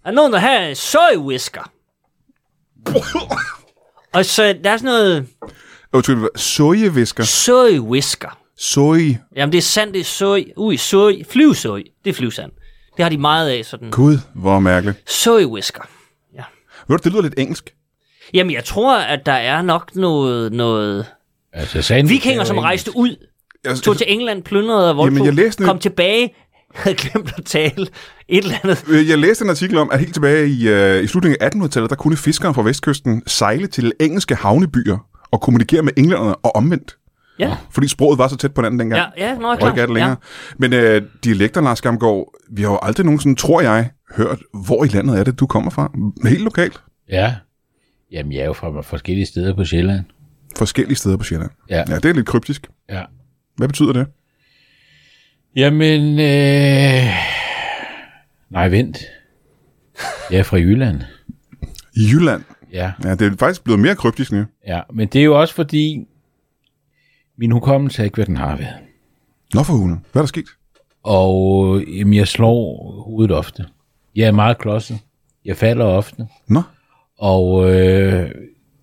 [SPEAKER 9] er der nogen, der har en soy whisker? Og så der er sådan noget
[SPEAKER 1] Undskyld, sojevisker.
[SPEAKER 9] soy whisker.
[SPEAKER 1] Soje.
[SPEAKER 9] Jamen, det er sand, det er soy. Ui, soy. Flyvsøj. Det er flyvsand. Det har de meget af, sådan.
[SPEAKER 1] Gud, hvor mærkeligt.
[SPEAKER 9] Soy whisker.
[SPEAKER 1] Ved du, det lyder lidt engelsk.
[SPEAKER 9] Jamen, jeg tror, at der er nok noget... noget...
[SPEAKER 10] Altså, sandwich er
[SPEAKER 9] Vikinger,
[SPEAKER 10] jo
[SPEAKER 9] som
[SPEAKER 10] engelsk.
[SPEAKER 9] rejste ud
[SPEAKER 1] jeg,
[SPEAKER 9] Tog til England, plyndrede og voldtog.
[SPEAKER 1] Jamen, jeg læste en-
[SPEAKER 9] Kom tilbage, havde glemt at tale et eller andet.
[SPEAKER 1] Øh, Jeg læste en artikel om, at helt tilbage i, øh, i slutningen af 1800-tallet, der kunne fiskere fra vestkysten sejle til engelske havnebyer og kommunikere med englænderne og omvendt.
[SPEAKER 9] Ja,
[SPEAKER 1] Fordi sproget var så tæt på hinanden dengang.
[SPEAKER 9] ja, ja, nå, jeg er
[SPEAKER 1] Og ikke er
[SPEAKER 9] klar.
[SPEAKER 1] det længere. Ja. Men øh, dialekter, Lars Gamgaard, vi har jo aldrig nogensinde, tror jeg, hørt, hvor i landet er det, du kommer fra. Helt lokalt.
[SPEAKER 10] Ja. Jamen, jeg er jo fra forskellige steder på Sjælland.
[SPEAKER 1] Forskellige steder på Sjælland.
[SPEAKER 10] Ja.
[SPEAKER 1] Ja, det er lidt kryptisk.
[SPEAKER 10] Ja.
[SPEAKER 1] Hvad betyder det?
[SPEAKER 10] Jamen, øh... nej, vent. Jeg er fra Jylland.
[SPEAKER 1] I Jylland.
[SPEAKER 10] Ja,
[SPEAKER 1] Ja, det er faktisk blevet mere kryptisk nu.
[SPEAKER 10] ja. Men det er jo også fordi, min hukommelse er ikke, hvad den har været.
[SPEAKER 1] Nå for hulen. Hvad er der sket?
[SPEAKER 10] Og øh, jamen, jeg slår hovedet ofte. Jeg er meget klodset. Jeg falder ofte.
[SPEAKER 1] Nå.
[SPEAKER 10] Og øh,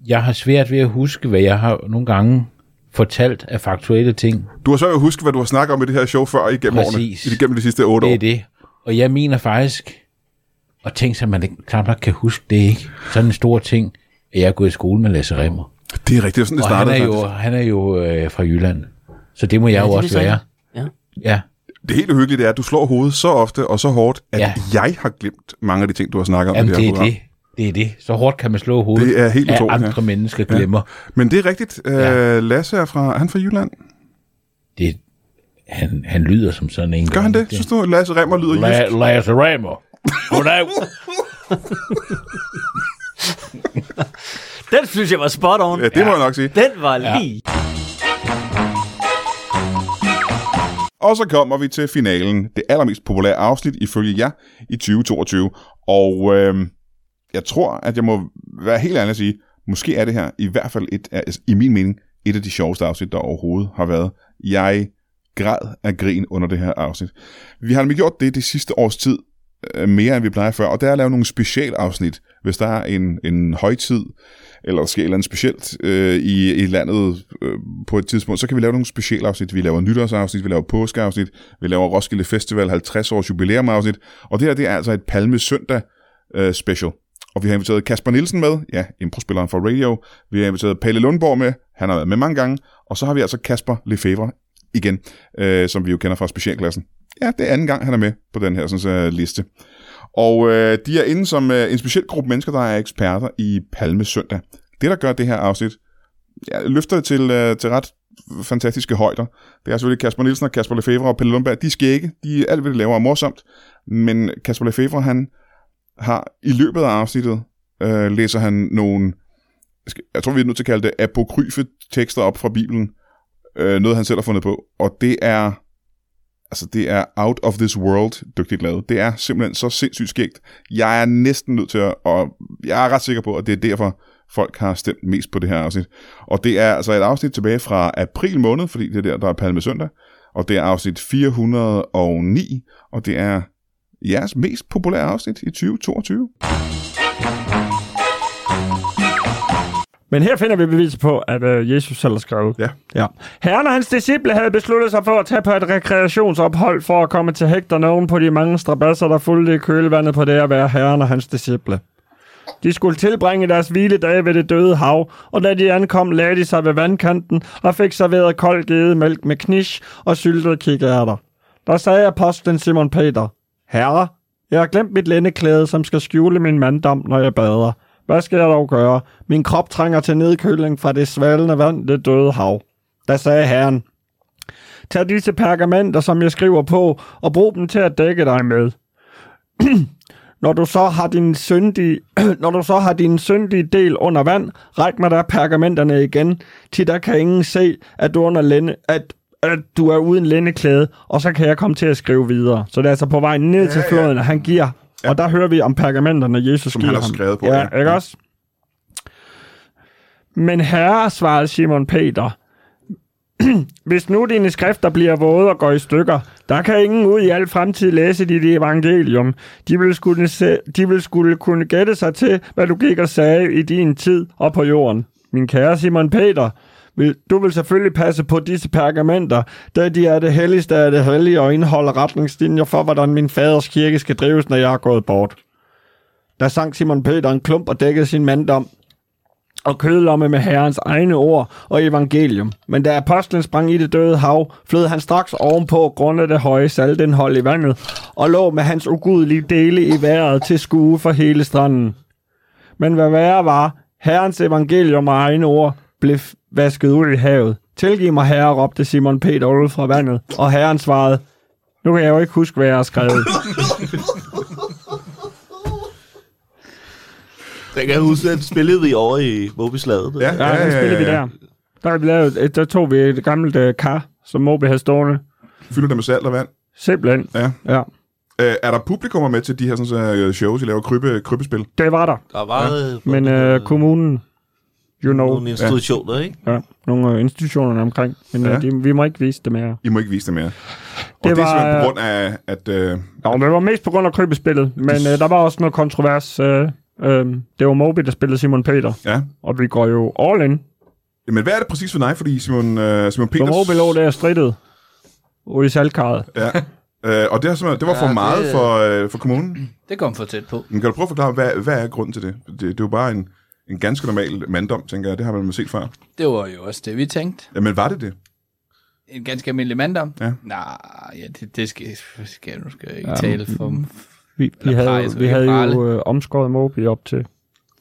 [SPEAKER 10] jeg har svært ved at huske, hvad jeg har nogle gange fortalt af faktuelle ting.
[SPEAKER 1] Du har så jo husket, hvad du har snakket om i det her show før igennem
[SPEAKER 10] Præcis.
[SPEAKER 1] årene. Igennem de sidste otte
[SPEAKER 10] Det
[SPEAKER 1] år.
[SPEAKER 10] er det. Og jeg mener faktisk, og tænk sig, at man ikke- knap nok kan huske det, ikke? Sådan en stor ting, at jeg er gået i skole med Lasse Remmer.
[SPEAKER 1] Det er rigtigt, det er sådan, det
[SPEAKER 10] Og han
[SPEAKER 1] startede.
[SPEAKER 10] er jo,
[SPEAKER 1] faktisk.
[SPEAKER 10] han er jo øh, fra Jylland. Så det må jeg ja, jo
[SPEAKER 9] det er
[SPEAKER 10] også
[SPEAKER 9] sandt.
[SPEAKER 10] være.
[SPEAKER 9] Ja.
[SPEAKER 10] Ja.
[SPEAKER 1] Det helt uhyggelige det er, at du slår hovedet så ofte og så hårdt, at ja.
[SPEAKER 10] Ja.
[SPEAKER 1] jeg har glemt mange af de ting, du har snakket om
[SPEAKER 10] Jamen,
[SPEAKER 1] i det
[SPEAKER 10] det
[SPEAKER 1] her
[SPEAKER 10] er
[SPEAKER 1] program.
[SPEAKER 10] det. Det er det. Så hårdt kan man slå hovedet,
[SPEAKER 1] Det er helt
[SPEAKER 10] at
[SPEAKER 1] utroligt, ja.
[SPEAKER 10] andre mennesker glemmer.
[SPEAKER 1] Men det er rigtigt. Ja. Øh, Lasse er fra, han er fra Jylland.
[SPEAKER 10] Det, han, han lyder som sådan en.
[SPEAKER 1] Gør han det? Synes du, Lasse Remmer lyder jysk?
[SPEAKER 10] La- Lasse Remmer. Goddag.
[SPEAKER 9] Den synes jeg var spot on.
[SPEAKER 1] Ja, det må jeg nok sige.
[SPEAKER 9] Den var lige.
[SPEAKER 1] Og så kommer vi til finalen. Det allermest populære afsnit, ifølge jer, i 2022. Og øh, jeg tror, at jeg må være helt ærlig at sige, måske er det her i hvert fald, et, af- altså, i min mening, et af de sjoveste afsnit, der overhovedet har været. Jeg græd af grin under det her afsnit. Vi har nemlig gjort det de sidste års tid, øh, mere end vi plejer før, og der er lavet nogle specialafsnit, hvis der er en, en højtid, eller der sker et eller andet specielt øh, i, i landet øh, på et tidspunkt, så kan vi lave nogle specialafsnit. Vi laver nytårsafsnit, vi laver påskeafsnit, vi laver Roskilde Festival 50 års jubilæumafsnit, og det her det er altså et Palme Søndag øh, special. Og vi har inviteret Kasper Nielsen med, ja, improspilleren fra Radio. Vi har inviteret Palle Lundborg med, han har været med mange gange. Og så har vi altså Kasper Lefevre igen, øh, som vi jo kender fra specialklassen. Ja, det er anden gang, han er med på den her sådan, øh, liste. Og øh, de er inde som øh, en speciel gruppe mennesker, der er eksperter i Palme Søndag. Det, der gør det her afsnit, ja, løfter det til, øh, til ret fantastiske højder. Det er selvfølgelig Kasper Nielsen og Kasper Lefevre og Pelle Lundberg. De skal ikke. De, alt, hvad de laver, er morsomt. Men Kasper Lefevre, han har i løbet af afsnittet, øh, læser han nogle, skal- jeg tror, vi er nødt til at kalde det apokryfe tekster op fra Bibelen. Øh, noget, han selv har fundet på. Og det er Altså, det er out of this world dygtigt lavet. Det er simpelthen så sindssygt skægt. Jeg er næsten nødt til at... Og jeg er ret sikker på, at det er derfor, folk har stemt mest på det her afsnit. Og det er altså et afsnit tilbage fra april måned, fordi det er der, der er Palme Søndag. Og det er afsnit 409, og det er jeres mest populære afsnit i 2022.
[SPEAKER 11] Men her finder vi bevis på, at øh, Jesus selv har skrevet.
[SPEAKER 1] Ja.
[SPEAKER 11] ja. Herren og hans disciple havde besluttet sig for at tage på et rekreationsophold for at komme til hægterne oven på de mange strabasser, der fulgte i kølevandet på det at være herren og hans disciple. De skulle tilbringe deres hviledage ved det døde hav, og da de ankom, lagde de sig ved vandkanten og fik serveret kold gedemælk med knish og syltede kikærter. Der sagde apostlen Simon Peter, Herre, jeg har glemt mit lændeklæde, som skal skjule min manddom, når jeg bader. Hvad skal jeg dog gøre? Min krop trænger til nedkøling fra det svalende vand, det døde hav. Da sagde herren, Tag disse pergamenter, som jeg skriver på, og brug dem til at dække dig med. Når du så har din syndige, når du så har din syndige del under vand, ræk mig der pergamenterne igen, til der kan ingen se, at du, er under lænde, at, at du er uden lændeklæde, og så kan jeg komme til at skrive videre. Så det er altså på vej ned til floden, at han giver. Og der hører vi om pergamenterne, Jesus
[SPEAKER 1] Som
[SPEAKER 11] giver
[SPEAKER 1] han har
[SPEAKER 11] ham.
[SPEAKER 1] skrevet på, ja.
[SPEAKER 11] Ja, ikke også? Men herre, svarede Simon Peter, hvis nu dine skrifter bliver våde og går i stykker, der kan ingen ud i al fremtid læse dit evangelium. De vil, skulle se, de vil skulle kunne gætte sig til, hvad du gik og sagde i din tid og på jorden. Min kære Simon Peter, vil, du vil selvfølgelig passe på disse pergamenter, da de er det helligste af det hellige og indeholder retningslinjer for, hvordan min faders kirke skal drives, når jeg er gået bort. Der sang Simon Peter en klump og dækkede sin manddom. og kødlomme med herrens egne ord og evangelium. Men da apostlen sprang i det døde hav, flød han straks ovenpå grund af det høje saltindhold i vandet, og lå med hans ugudelige dele i vejret til skue for hele stranden. Men hvad værre var, herrens evangelium og egne ord blev f- vasket ud i havet. Tilgiv mig, herre, råbte Simon Peter ud fra vandet, og herren svarede, nu kan jeg jo ikke huske, hvad jeg har skrevet.
[SPEAKER 12] Jeg kan huske, at spillede vi over i Mobislaget.
[SPEAKER 11] Ja, ja, ja, ja, spillede vi der. Der, vi lavet, et- der tog vi et gammelt uh, kar, som Moby havde stående.
[SPEAKER 1] Fylder det med salt og vand?
[SPEAKER 11] Simpelthen.
[SPEAKER 1] Ja.
[SPEAKER 11] ja.
[SPEAKER 1] Øh, er der publikummer med til de her sådan, øh, shows, I laver krybe, krybespil?
[SPEAKER 11] Det var der.
[SPEAKER 12] Der var,
[SPEAKER 11] ja. Men øh, kommunen, you know.
[SPEAKER 12] Nogle institutioner, ikke?
[SPEAKER 11] Ja, nogle øh, institutioner omkring. Men
[SPEAKER 1] Ja.
[SPEAKER 11] ja. de, vi må ikke vise det mere.
[SPEAKER 1] I må ikke vise det mere. Og det, det var, er
[SPEAKER 11] var,
[SPEAKER 1] simpelthen på
[SPEAKER 11] øh,
[SPEAKER 1] grund af, at... Øh,
[SPEAKER 11] Nå, men det var mest på grund af krybespillet, men øh, der var også noget kontrovers. Øh, øh, det var Moby, der spillede Simon Peter.
[SPEAKER 1] Ja.
[SPEAKER 11] Og vi går jo all in.
[SPEAKER 1] men hvad er det præcis for dig? Fordi Simon, øh, Simon
[SPEAKER 11] Peters...
[SPEAKER 1] Peters...
[SPEAKER 11] Så Moby lå der strittet ude i saltkaret.
[SPEAKER 1] Ja. Øh, og det, er, simpelthen- det var for
[SPEAKER 13] Ja,
[SPEAKER 1] ja,
[SPEAKER 13] det-
[SPEAKER 1] meget det... for, øh, for kommunen.
[SPEAKER 13] Det kom for tæt på.
[SPEAKER 1] Men kan du prøve at forklare, hvad, hvad er grunden til det? det? Det er jo bare en, en ganske normal manddom, tænker jeg. Det har man vel set før.
[SPEAKER 13] Det var jo også det, vi tænkte.
[SPEAKER 1] Jamen, var det det?
[SPEAKER 13] En ganske almindelig manddom.
[SPEAKER 1] Ja.
[SPEAKER 13] Nej, ja, det, det skal, skal jeg nu skal jeg ikke
[SPEAKER 11] Ja,
[SPEAKER 13] tale
[SPEAKER 11] men-
[SPEAKER 13] for...
[SPEAKER 11] Øhm, Vi, vi
[SPEAKER 13] Eller
[SPEAKER 11] havde,
[SPEAKER 13] prale,
[SPEAKER 11] jo-
[SPEAKER 13] så
[SPEAKER 11] vi
[SPEAKER 13] ikke
[SPEAKER 11] havde
[SPEAKER 13] prale.
[SPEAKER 11] jo øh, omskåret Moby op til,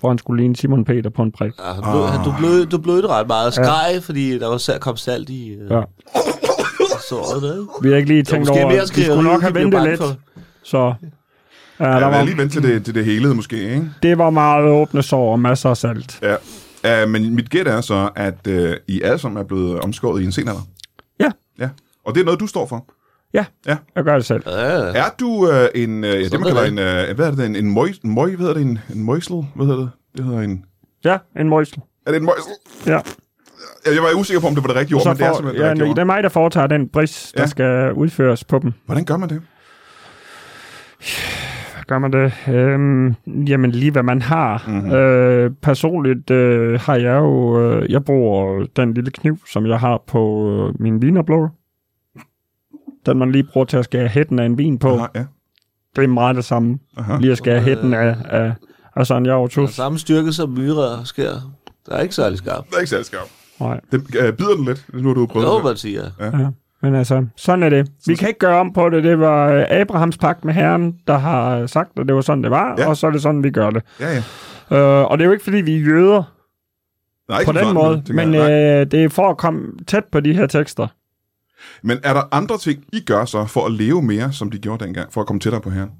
[SPEAKER 11] for han skulle ligne Simon Peter på en prik.
[SPEAKER 12] Ja, han blød,
[SPEAKER 1] Ah.
[SPEAKER 12] han, Altså, du, blød, du blødte ret meget og skreg, ja. fordi der var sal, kom salt i øh,
[SPEAKER 11] Ja.
[SPEAKER 12] såret. Der, ikke?
[SPEAKER 11] Vi har ikke lige
[SPEAKER 12] Det var
[SPEAKER 11] tænkt
[SPEAKER 12] måske
[SPEAKER 11] over,
[SPEAKER 12] mere
[SPEAKER 11] vi
[SPEAKER 12] skriveri,
[SPEAKER 11] skulle nok have
[SPEAKER 12] vi blev
[SPEAKER 11] ventet
[SPEAKER 12] bange
[SPEAKER 11] lidt.
[SPEAKER 12] for.
[SPEAKER 11] Så ja,
[SPEAKER 1] Ja,
[SPEAKER 11] der
[SPEAKER 1] der var...
[SPEAKER 11] var,
[SPEAKER 1] lige vente til det, til det helede, måske, ikke?
[SPEAKER 11] det var meget åbne sår og masser af salt.
[SPEAKER 1] Ja. Uh, men mit gæt er så, at uh, I alle sammen er blevet omskåret i en senere.
[SPEAKER 11] Ja.
[SPEAKER 1] ja. Og det er noget, du står for.
[SPEAKER 11] Ja,
[SPEAKER 1] ja.
[SPEAKER 11] jeg gør det selv.
[SPEAKER 1] Er du uh, en, uh, det, man
[SPEAKER 11] ved
[SPEAKER 1] kalder
[SPEAKER 11] jeg
[SPEAKER 1] en, uh, hvad er det, en, en møj, møj, hvad hedder det, en, en møjsel, hvad hedder det? Det hedder en...
[SPEAKER 11] Ja, en møjsel.
[SPEAKER 1] Er det en møjsel?
[SPEAKER 11] Ja.
[SPEAKER 1] Jeg, jeg var usikker på, om det var det rigtige
[SPEAKER 11] Og
[SPEAKER 1] ord,
[SPEAKER 11] så
[SPEAKER 1] men det er
[SPEAKER 11] får-
[SPEAKER 1] simpelthen
[SPEAKER 11] ja,
[SPEAKER 1] det rigtige
[SPEAKER 11] det
[SPEAKER 1] ord.
[SPEAKER 11] er mig, der foretager den bris, der
[SPEAKER 1] Ja.
[SPEAKER 11] skal udføres på dem.
[SPEAKER 1] Hvordan gør man det?
[SPEAKER 11] Gør man det? Øhm, jamen lige hvad man har.
[SPEAKER 1] Mhm.
[SPEAKER 11] Mm-hmm. Øh, personligt øh, har jeg jo, øh, jeg bruger den lille kniv, som jeg har på øh, min vinerblå. Den man lige bruger til at skære hætten af en vin på.
[SPEAKER 1] Aha, ja.
[SPEAKER 11] Det er meget det samme.
[SPEAKER 1] Aha.
[SPEAKER 11] Lige at skære hætten af, af, af sådan jeg
[SPEAKER 12] Den
[SPEAKER 11] overtus.
[SPEAKER 12] samme styrke som myrer sker. Der er ikke særlig skarp.
[SPEAKER 1] Det er ikke særlig skarp.
[SPEAKER 11] Nej.
[SPEAKER 1] Det, uh, bider den lidt, nu har du prøvet
[SPEAKER 12] Det må
[SPEAKER 1] det.
[SPEAKER 12] man sige, ja.
[SPEAKER 1] ja.
[SPEAKER 11] Ja. Men altså, sådan er det. Vi kan ikke gøre om på det. Det var øh, Abrahams pagt med Herren, der har øh, sagt, at det var sådan, det var, ja. og så er det sådan, vi gør det.
[SPEAKER 1] Ja, ja.
[SPEAKER 11] Øh, og det er jo ikke, fordi vi er jøder
[SPEAKER 1] Nej,
[SPEAKER 11] på
[SPEAKER 1] som
[SPEAKER 11] den
[SPEAKER 1] sådan,
[SPEAKER 11] måde,
[SPEAKER 1] tænker
[SPEAKER 11] men
[SPEAKER 1] jeg. Nej.
[SPEAKER 11] øh, det er for at komme tæt på de her tekster.
[SPEAKER 1] Men er der andre ting, I gør så for at leve mere, som de gjorde dengang, for at komme tættere på herren?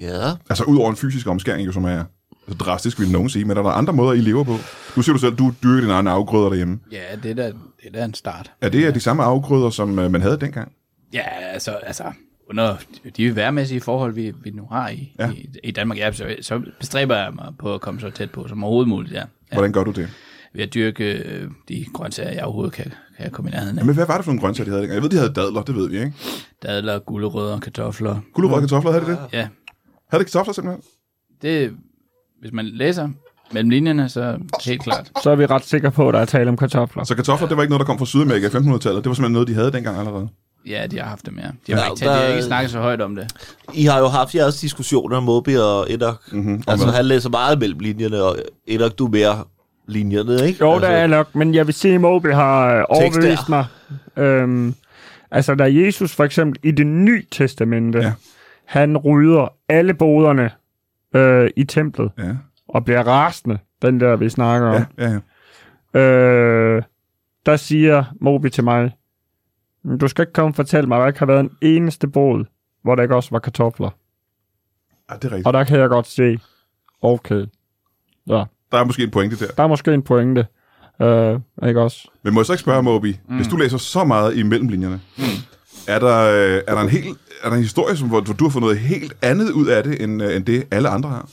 [SPEAKER 12] Ja.
[SPEAKER 1] Altså ud over en fysisk omskæring, jo, som er så drastisk, vil nogen sige, men er der andre måder, I lever på? Nu siger du selv, du dyrker dine egne afgrøder derhjemme.
[SPEAKER 13] Ja, det er da, det er da en start.
[SPEAKER 1] Er det ja. de samme afgrøder, som øh, man havde dengang?
[SPEAKER 13] Ja, altså, altså under de værmæssige forhold, vi, vi nu har i, ja. i, i Danmark, ja, så, så bestræber jeg mig på at komme så tæt på som overhovedet muligt. Ja.
[SPEAKER 1] Hvordan gør du det?
[SPEAKER 13] Ved at dyrke øh, de grøntsager, jeg overhovedet kan, kan jeg komme i nærheden af.
[SPEAKER 1] Jamen, hvad var det for nogle grøntsager, de havde dengang? Jeg ved, de havde dadler, det ved vi, ikke?
[SPEAKER 13] Dadler, gulerødder, kartofler.
[SPEAKER 1] Gulerødder og kartofler, havde de det?
[SPEAKER 13] Ja.
[SPEAKER 1] Havde de kartofler simpelthen?
[SPEAKER 13] Det, hvis man læser mellem linjerne, så helt klart.
[SPEAKER 11] Så er vi ret sikre på, at der er tale om kartofler.
[SPEAKER 1] Så Altså, kartofler, det var ikke noget, der kom fra Sydamerika i 1500-tallet. Det var simpelthen noget, de havde dengang allerede.
[SPEAKER 13] Ja, de har haft det med. De har,
[SPEAKER 12] Ja,
[SPEAKER 13] ja, ikke, talt, de har
[SPEAKER 12] der-
[SPEAKER 13] ikke snakket så højt om det.
[SPEAKER 12] I har jo haft jeres diskussioner om Moby og Enoch.
[SPEAKER 1] Mhm,
[SPEAKER 12] Mm-hmm. Altså,
[SPEAKER 13] hvad?
[SPEAKER 12] han læser meget mellem linjerne, og Enoch, du er mere linjerne, ikke?
[SPEAKER 11] Jo,
[SPEAKER 12] altså,
[SPEAKER 11] der er nok, men jeg vil sige, at Moby har øh,
[SPEAKER 12] Tekst der.
[SPEAKER 11] overbevist mig. Øhm, altså, der er Jesus for eksempel i det nye testamente. Ja. Han rydder alle boderne øh, i templet.
[SPEAKER 1] Ja.
[SPEAKER 11] Og bliver rasende, den der, vi snakker om.
[SPEAKER 1] Ja,
[SPEAKER 11] ja. Øh, der siger Moby til mig, du skal ikke komme og fortælle mig, at der ikke har været en eneste bod, hvor der ikke også var kartofler.
[SPEAKER 1] Ja, det er rigtigt.
[SPEAKER 11] Og der kan jeg godt se, okay, ja,
[SPEAKER 1] Der er måske en pointe der.
[SPEAKER 11] der er måske en pointe. Øh, ikke også?
[SPEAKER 1] Men må jeg så ikke spørge, Moby, mm. hvis du læser så meget i mellemlinjerne, mm. er, der, øh, er, der en hel, er der en historie, som, hvor, hvor du har fået noget helt andet ud af det, end, øh, end det alle andre har?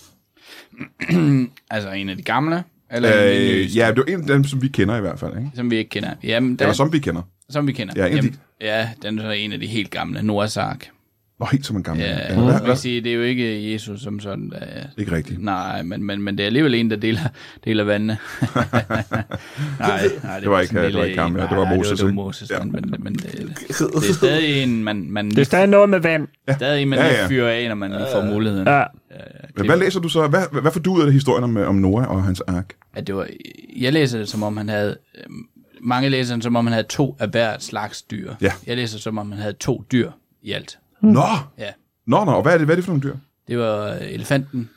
[SPEAKER 13] altså en af de gamle, eller øh, en af de nye,
[SPEAKER 1] Øh, ja, det er jo en af dem, som vi kender i hvert fald, ikke?
[SPEAKER 13] som vi ikke kender. Jamen, der,
[SPEAKER 1] Eller som vi kender.
[SPEAKER 13] Som vi kender.
[SPEAKER 1] Ja, en af de-
[SPEAKER 13] ja den er så en af de helt gamle, Noahs Ark.
[SPEAKER 1] Nå, helt som en gammel.
[SPEAKER 13] Ja,
[SPEAKER 1] mand.
[SPEAKER 13] ja, man
[SPEAKER 1] Hvad-
[SPEAKER 13] kan
[SPEAKER 1] hvad-
[SPEAKER 13] sige, det er jo ikke Jesus som sådan. Der,
[SPEAKER 1] ikke rigtigt.
[SPEAKER 13] Nej, men, men, men det er alligevel en, der deler, deler vandene. nej, nej,
[SPEAKER 1] Det var ikke-
[SPEAKER 13] sådan en
[SPEAKER 1] det var ikke
[SPEAKER 13] lille
[SPEAKER 1] ham,
[SPEAKER 13] en.
[SPEAKER 1] ja, det
[SPEAKER 13] Nej,
[SPEAKER 1] var
[SPEAKER 13] nej,
[SPEAKER 1] Moses,
[SPEAKER 13] Det var
[SPEAKER 1] ikke?
[SPEAKER 13] Moses, ja. men, men
[SPEAKER 1] øh,
[SPEAKER 13] det, det er stadig en, man, man
[SPEAKER 11] Det er stadig noget med vand.
[SPEAKER 13] stadig en, man
[SPEAKER 1] Ja,
[SPEAKER 13] ja,
[SPEAKER 1] ja.
[SPEAKER 13] ja. fyrer af, når man lige får muligheden.
[SPEAKER 11] Ja.
[SPEAKER 1] Hvad, hvad læser du så? Hvad, hvad, hvad får du ud af det historien om, øh, om Noah og hans ark?
[SPEAKER 13] at det var, jeg læser det som om han havde, øhm, mange læser det som om han havde to af hver slags dyr.
[SPEAKER 1] Ja.
[SPEAKER 13] Jeg læser det som om han havde to dyr i alt.
[SPEAKER 1] Nå!
[SPEAKER 13] Ja.
[SPEAKER 1] Nå, nå, og hvad er det, hvad er det for nogle dyr?
[SPEAKER 13] Det var øh, elefanten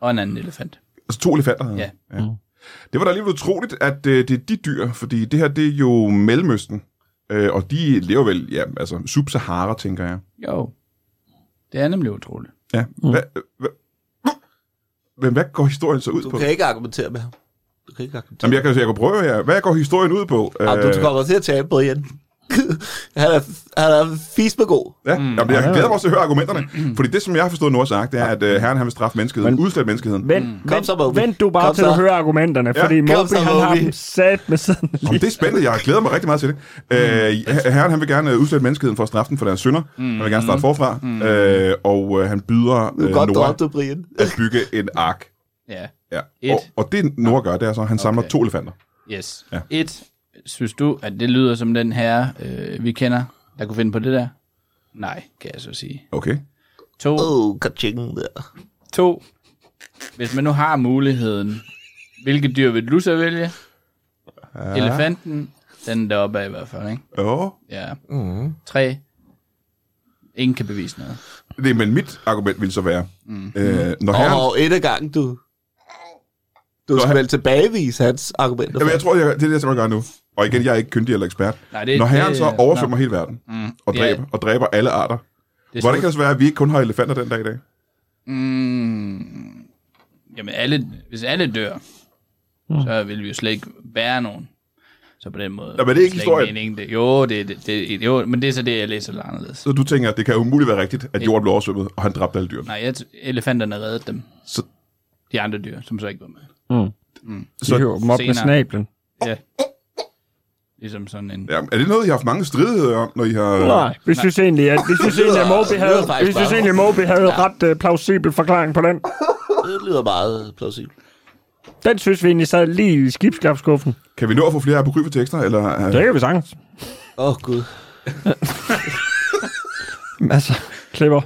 [SPEAKER 13] og en anden elefant.
[SPEAKER 1] Altså to elefanter? havde
[SPEAKER 13] Ja.
[SPEAKER 1] han.
[SPEAKER 11] Mm.
[SPEAKER 1] ja. Det var da alligevel utroligt, at øh, det er de dyr, fordi det her, det er jo Mellemøsten. Øh, og de lever vel, ja, altså sub-Sahara, tænker jeg.
[SPEAKER 13] Jo. Det er nemlig utroligt.
[SPEAKER 1] Ja. Mm. Hva, hva, men hvad går historien så ud
[SPEAKER 12] Du
[SPEAKER 1] på?
[SPEAKER 12] kan ikke argumentere med ham. Du kan ikke argumentere.
[SPEAKER 1] Jamen, jeg kan, jeg kan prøve her. Hvad går historien ud på? Øh,
[SPEAKER 12] Ah, du kommer til at tabe, Brian. han er, han er fisme god.
[SPEAKER 1] Ja, mm. Jamen, jeg glæder mig også til at høre argumenterne. Fordi det, som jeg har forstået nu har sagt, det er, at øh, herren han vil straffe menneskeheden, udslætte menneskeheden.
[SPEAKER 11] Men,
[SPEAKER 12] Mm. Kom så, Moby.
[SPEAKER 11] Vent du bare
[SPEAKER 12] Kom
[SPEAKER 11] til
[SPEAKER 12] så.
[SPEAKER 11] at høre argumenterne,
[SPEAKER 1] Ja,
[SPEAKER 11] ja, fordi
[SPEAKER 1] kom
[SPEAKER 11] Moby,
[SPEAKER 1] så,
[SPEAKER 11] han har
[SPEAKER 1] Moby.
[SPEAKER 11] dem sat med sådan Mm.
[SPEAKER 1] Jamen, det er spændende. Jeg glæder mig rigtig meget til det. Øh, her- herren han vil gerne udslætte menneskeheden for at straffe den for deres synder. Mm. Han vil gerne starte forfra. Mm. Øh, og øh, han byder
[SPEAKER 12] Du er
[SPEAKER 1] øh,
[SPEAKER 12] godt
[SPEAKER 1] Noah
[SPEAKER 12] drømt, du, Brian.
[SPEAKER 1] at bygge en ark.
[SPEAKER 13] Ja.
[SPEAKER 1] Ja.
[SPEAKER 13] Et.
[SPEAKER 1] Og, og det Noah gør, det er så, at han samler to elefanter.
[SPEAKER 13] Yes.
[SPEAKER 1] Ja.
[SPEAKER 13] Ja. Et, synes du, at det lyder som den her, øh, vi kender, der kunne finde på det der? Nej, kan jeg så sige.
[SPEAKER 1] Okay.
[SPEAKER 13] To.
[SPEAKER 12] Oh, kaching der.
[SPEAKER 13] To. Hvis man nu har muligheden, hvilke dyr vil du så vælge? Ja. Elefanten, den deroppe af i hvert fald, ikke?
[SPEAKER 1] Jo.
[SPEAKER 13] Ja.
[SPEAKER 12] Mhm.
[SPEAKER 1] Mm.
[SPEAKER 13] Tre. Ingen kan bevise noget.
[SPEAKER 1] Det, men mit argument ville så være, mm. øh, når
[SPEAKER 12] Nå,
[SPEAKER 1] herren...
[SPEAKER 12] og et af gangen, du. Du skal vel tilbagevise hans argumenter.
[SPEAKER 1] Jamen, jeg tror, jeg, det er det, jeg skal gøre nu. Og igen, jeg er ikke kyndig eller ekspert.
[SPEAKER 13] Nej,
[SPEAKER 1] det, når herren det, så oversvømmer hele verden,
[SPEAKER 13] Mm.
[SPEAKER 1] og
[SPEAKER 13] Ja.
[SPEAKER 1] dræber, og dræber alle arter,
[SPEAKER 13] er
[SPEAKER 1] hvordan
[SPEAKER 13] slut.
[SPEAKER 1] kan det så være, at vi ikke kun har elefanter den dag i dag?
[SPEAKER 13] Mm. Jamen, alle, hvis alle dør,
[SPEAKER 11] Mm.
[SPEAKER 13] så vil vi jo slet ikke være nogen. Så på den måde...
[SPEAKER 1] Nå, men det er ikke
[SPEAKER 13] slet
[SPEAKER 1] historien.
[SPEAKER 13] mening, det, jo, det, det, det, jo, men det er så det, jeg læser lidt anderledes.
[SPEAKER 1] Så du tænker, at det kan umuligt være rigtigt, at jorden blev oversvømmet, og han dræbte alle dyrene.
[SPEAKER 13] Nej, jeg t- elefanterne reddede dem.
[SPEAKER 1] Så...
[SPEAKER 13] De andre dyr, som så ikke var med.
[SPEAKER 11] Mm.
[SPEAKER 13] Mm.
[SPEAKER 11] Så hører dem op med
[SPEAKER 13] Senere.
[SPEAKER 11] snablen.
[SPEAKER 13] Ja. Ligesom sådan en...
[SPEAKER 1] Ja, er det noget, I har haft mange stridigheder om, når I har...
[SPEAKER 11] Nej, vi synes egentlig, at, vi synes egentlig, at Moby
[SPEAKER 12] Det lyder
[SPEAKER 11] havde,
[SPEAKER 12] faktisk
[SPEAKER 11] vi synes
[SPEAKER 12] meget.
[SPEAKER 11] egentlig, at Moby havde ja. ret uh, plausibel forklaring på den.
[SPEAKER 12] Det lyder meget plausibelt.
[SPEAKER 11] Den synes vi egentlig sad lige i skibskabsskuffen.
[SPEAKER 1] Kan vi nå at få flere apokryfe tekster, eller...
[SPEAKER 11] Det kan vi sagtens.
[SPEAKER 12] Åh, oh, Gud.
[SPEAKER 11] Altså, klipper.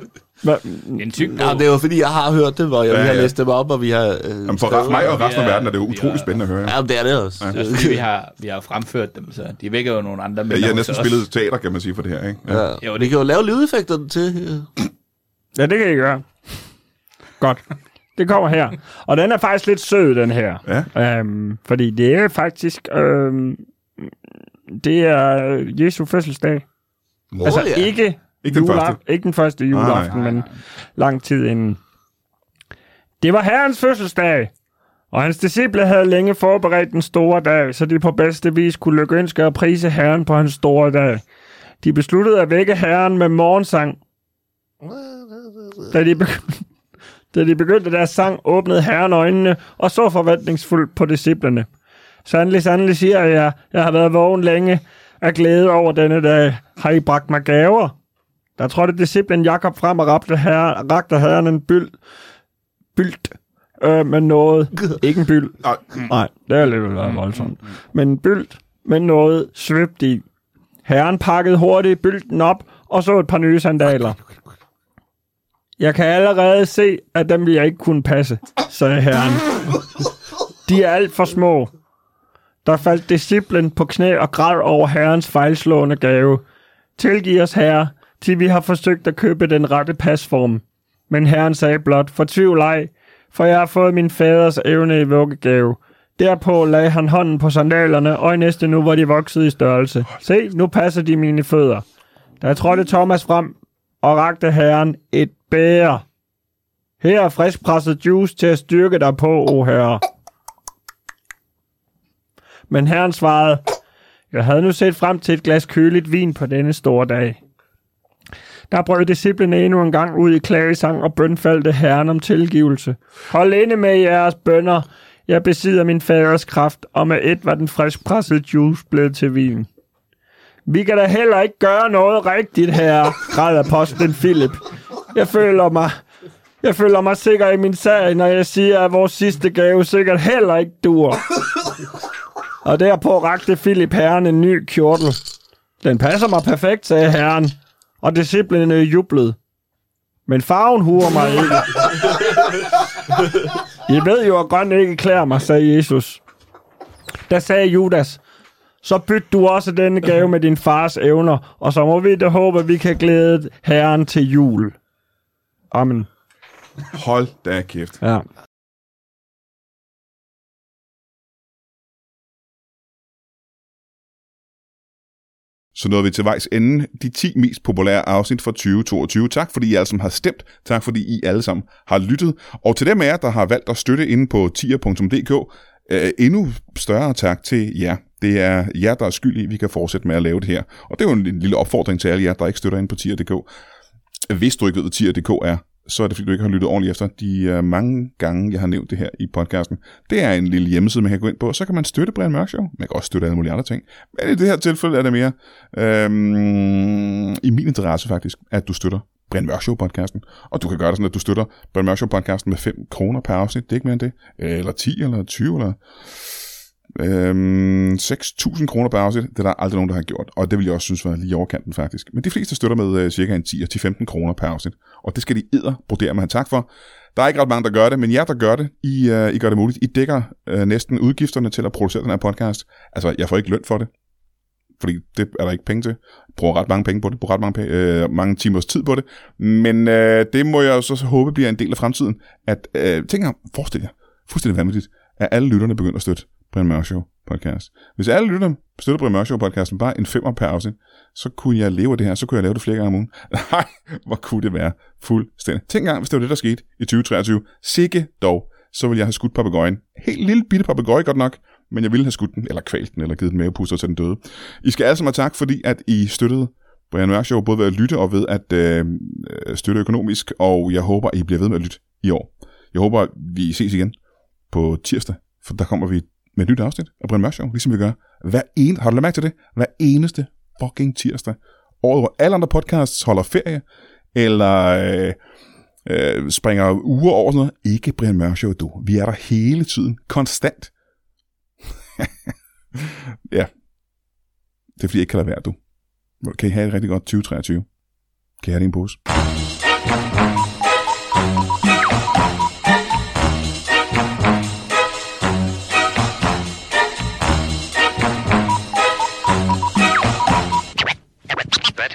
[SPEAKER 11] Hva?
[SPEAKER 13] En tyk
[SPEAKER 12] Ja, det er jo fordi, jeg har hørt det, hvor jeg
[SPEAKER 1] Ja,
[SPEAKER 12] ja, har
[SPEAKER 1] ja.
[SPEAKER 12] læst dem op, og vi har... Øh, Jamen,
[SPEAKER 1] for resten- mig og resten af verden er det jo utrolig spændende at høre.
[SPEAKER 12] Ja, men det er det også.
[SPEAKER 13] Det er også fordi, vi har, vi har fremført dem, så de vækker jo nogle andre
[SPEAKER 1] Ja,
[SPEAKER 13] minder
[SPEAKER 1] jeg har
[SPEAKER 13] hos
[SPEAKER 1] næsten
[SPEAKER 13] os.
[SPEAKER 1] spillet teater, kan man sige, for det her, ikke?
[SPEAKER 12] Ja.
[SPEAKER 13] Jo,
[SPEAKER 12] Vi
[SPEAKER 13] det,
[SPEAKER 12] kan jo lave lydeffekterne til. øh.
[SPEAKER 11] Ja, det kan I gøre. Godt. Det kommer her. Og den er faktisk lidt sød, den her. Ja. Øhm, fordi det er faktisk... Øhm, det er Jesu fødselsdag.
[SPEAKER 1] Nå,
[SPEAKER 11] altså
[SPEAKER 1] ja.
[SPEAKER 11] ikke,
[SPEAKER 1] Ikke den
[SPEAKER 11] jula-
[SPEAKER 1] første.
[SPEAKER 11] ikke den første juleaften, men lang tid inden. Det var herrens fødselsdag, og hans disciple havde længe forberedt den store dag, så de på bedste vis kunne lykønske og prise herren på hans store dag. De besluttede at vække herren med morgensang. Da de, begy- da de begyndte deres sang, åbnede herren øjnene og så forventningsfuldt på disciplerne. Sandelig, sandelig siger jeg, jeg har været vågen længe af glæde over denne dag. Har I bragt mig gaver? Der trådte disciplen Jakob frem og rakte, herre, rakte herren en byld, byldt øh, med noget. Ikke en byld. Nej, det er lidt øh, voldsomt. Men en byld med noget svøbt i. Herren pakkede hurtigt bylden op og så et par nye sandaler. Jeg kan allerede se, at dem vil jeg ikke kunne passe, sagde herren. De er alt for små. Der faldt disciplen på knæ og græd over herrens fejlslående gave. Tilgiv os, herre, til vi har forsøgt at købe den rette pasform. Men herren sagde blot, fortvivl ej, for jeg har fået min faders evne i vuggegave. Derpå lagde han hånden på sandalerne, og i næste nu var de vokset i størrelse. Se, nu passer de mine fødder. Der trådte Thomas frem og rakte herren et bære. Her er friskpresset juice til at styrke dig på, o herre. Men herren svarede, jeg havde nu set frem til et glas køligt vin på denne store dag. Der brød disciplene endnu en gang ud i klagesang og bønfaldte herren om tilgivelse. Hold inde med jeres bønder. Jeg besidder min faders kraft, og med et var den friskpressede juice blevet til vin. Vi kan da heller ikke gøre noget rigtigt her, græder posten Philip. Jeg føler mig... Jeg føler mig sikker i min sag, når jeg siger, at vores sidste gave sikkert heller ikke dur. Og derpå rakte Philip herren en ny kjortel. Den passer mig perfekt, sagde herren, og disciplinen jublede. Men farven huer mig ikke. I ved jo, at grøn ikke klæder mig, sagde Jesus. Der sagde Judas, så byt du også denne gave med din fars evner, og så må vi da håbe, at vi kan glæde herren til jul. Amen.
[SPEAKER 1] Hold da kæft.
[SPEAKER 11] Ja.
[SPEAKER 1] Så nåede vi til vejs ende. De 10 mest populære afsnit for 2022. Tak fordi I alle sammen har stemt. Tak fordi I alle sammen har lyttet. Og til dem af jer, der har valgt at støtte inde på tier.dk, øh, endnu større tak til jer. Det er jer, der er skyld i, at vi kan fortsætte med at lave det her. Og det er jo en, en lille opfordring til alle jer, der ikke støtter ind på tier.dk. Hvis du ikke ved, hvad tier.dk er, så er det fordi, du ikke har lyttet ordentligt efter de øh, mange gange, jeg har nævnt det her i podcasten. Det er en lille hjemmeside, man kan gå ind på, og så kan man støtte Brian Mørk Show. Man kan også støtte alle mulige andre ting. Men i det her tilfælde er det mere øhm, i min interesse faktisk, at du støtter Brian Mørk Show podcasten. Og du kan gøre det sådan, at du støtter Brian Mørk Show podcasten med 5 kroner per afsnit. Det er ikke mere end det. Eller 10, eller 20, eller Øhm, 6.000 kroner per afsnit, det er der aldrig nogen, der har gjort, og det vil jeg også synes var lige i overkanten faktisk. Men de fleste støtter med øh, cirka en 10-15 kroner per afsnit, og det skal de edder brodere med tak for. Der er ikke ret mange, der gør det, men jer, der gør det, I, øh, I gør det muligt. I dækker øh, næsten udgifterne til at producere den her podcast. Altså, jeg får ikke løn for det, fordi det er der ikke penge til. Jeg bruger ret mange penge på det, bruger ret mange, pe- øh, mange timers tid på det. Men øh, det må jeg jo så håbe bliver en del af fremtiden. At, øh, tænk jer, forestil jer, fuldstændig vanvittigt, at alle lytterne begynder at støtte Brian Mørk Show podcast. Hvis alle lytter støtter Brian Mørk Show podcasten bare en femmer per afsnit, så kunne jeg leve af det her, så kunne jeg lave det flere gange om ugen. Nej, hvor kunne det være fuldstændig. Tænk engang, hvis det var det, der skete i 2023. Sikke dog, så ville jeg have skudt papegøjen. Helt lille bitte papegøje godt nok, men jeg ville have skudt den, eller kvalt den, eller givet den mavepuster til den døde. I skal alle sammen have tak, fordi at I støttede Brian Mørk Show, både ved at lytte og ved at øh, støtte økonomisk, og jeg håber, I bliver ved med at lytte i år. Jeg håber, vi ses igen på tirsdag, for der kommer vi med et nyt afsnit af Brian Mørk Show, ligesom vi gør hver en, har du lagt mærke til det? Hver eneste fucking tirsdag. Året, hvor alle andre podcasts holder ferie, eller øh, øh, springer uger over og sådan noget. Ikke Brian Mørk Show, du. Vi er der hele tiden, konstant. ja. Det er fordi, jeg ikke kan lade være, du. Kan I have et rigtig godt 2023? Kan I have det i en pose?
[SPEAKER 14] That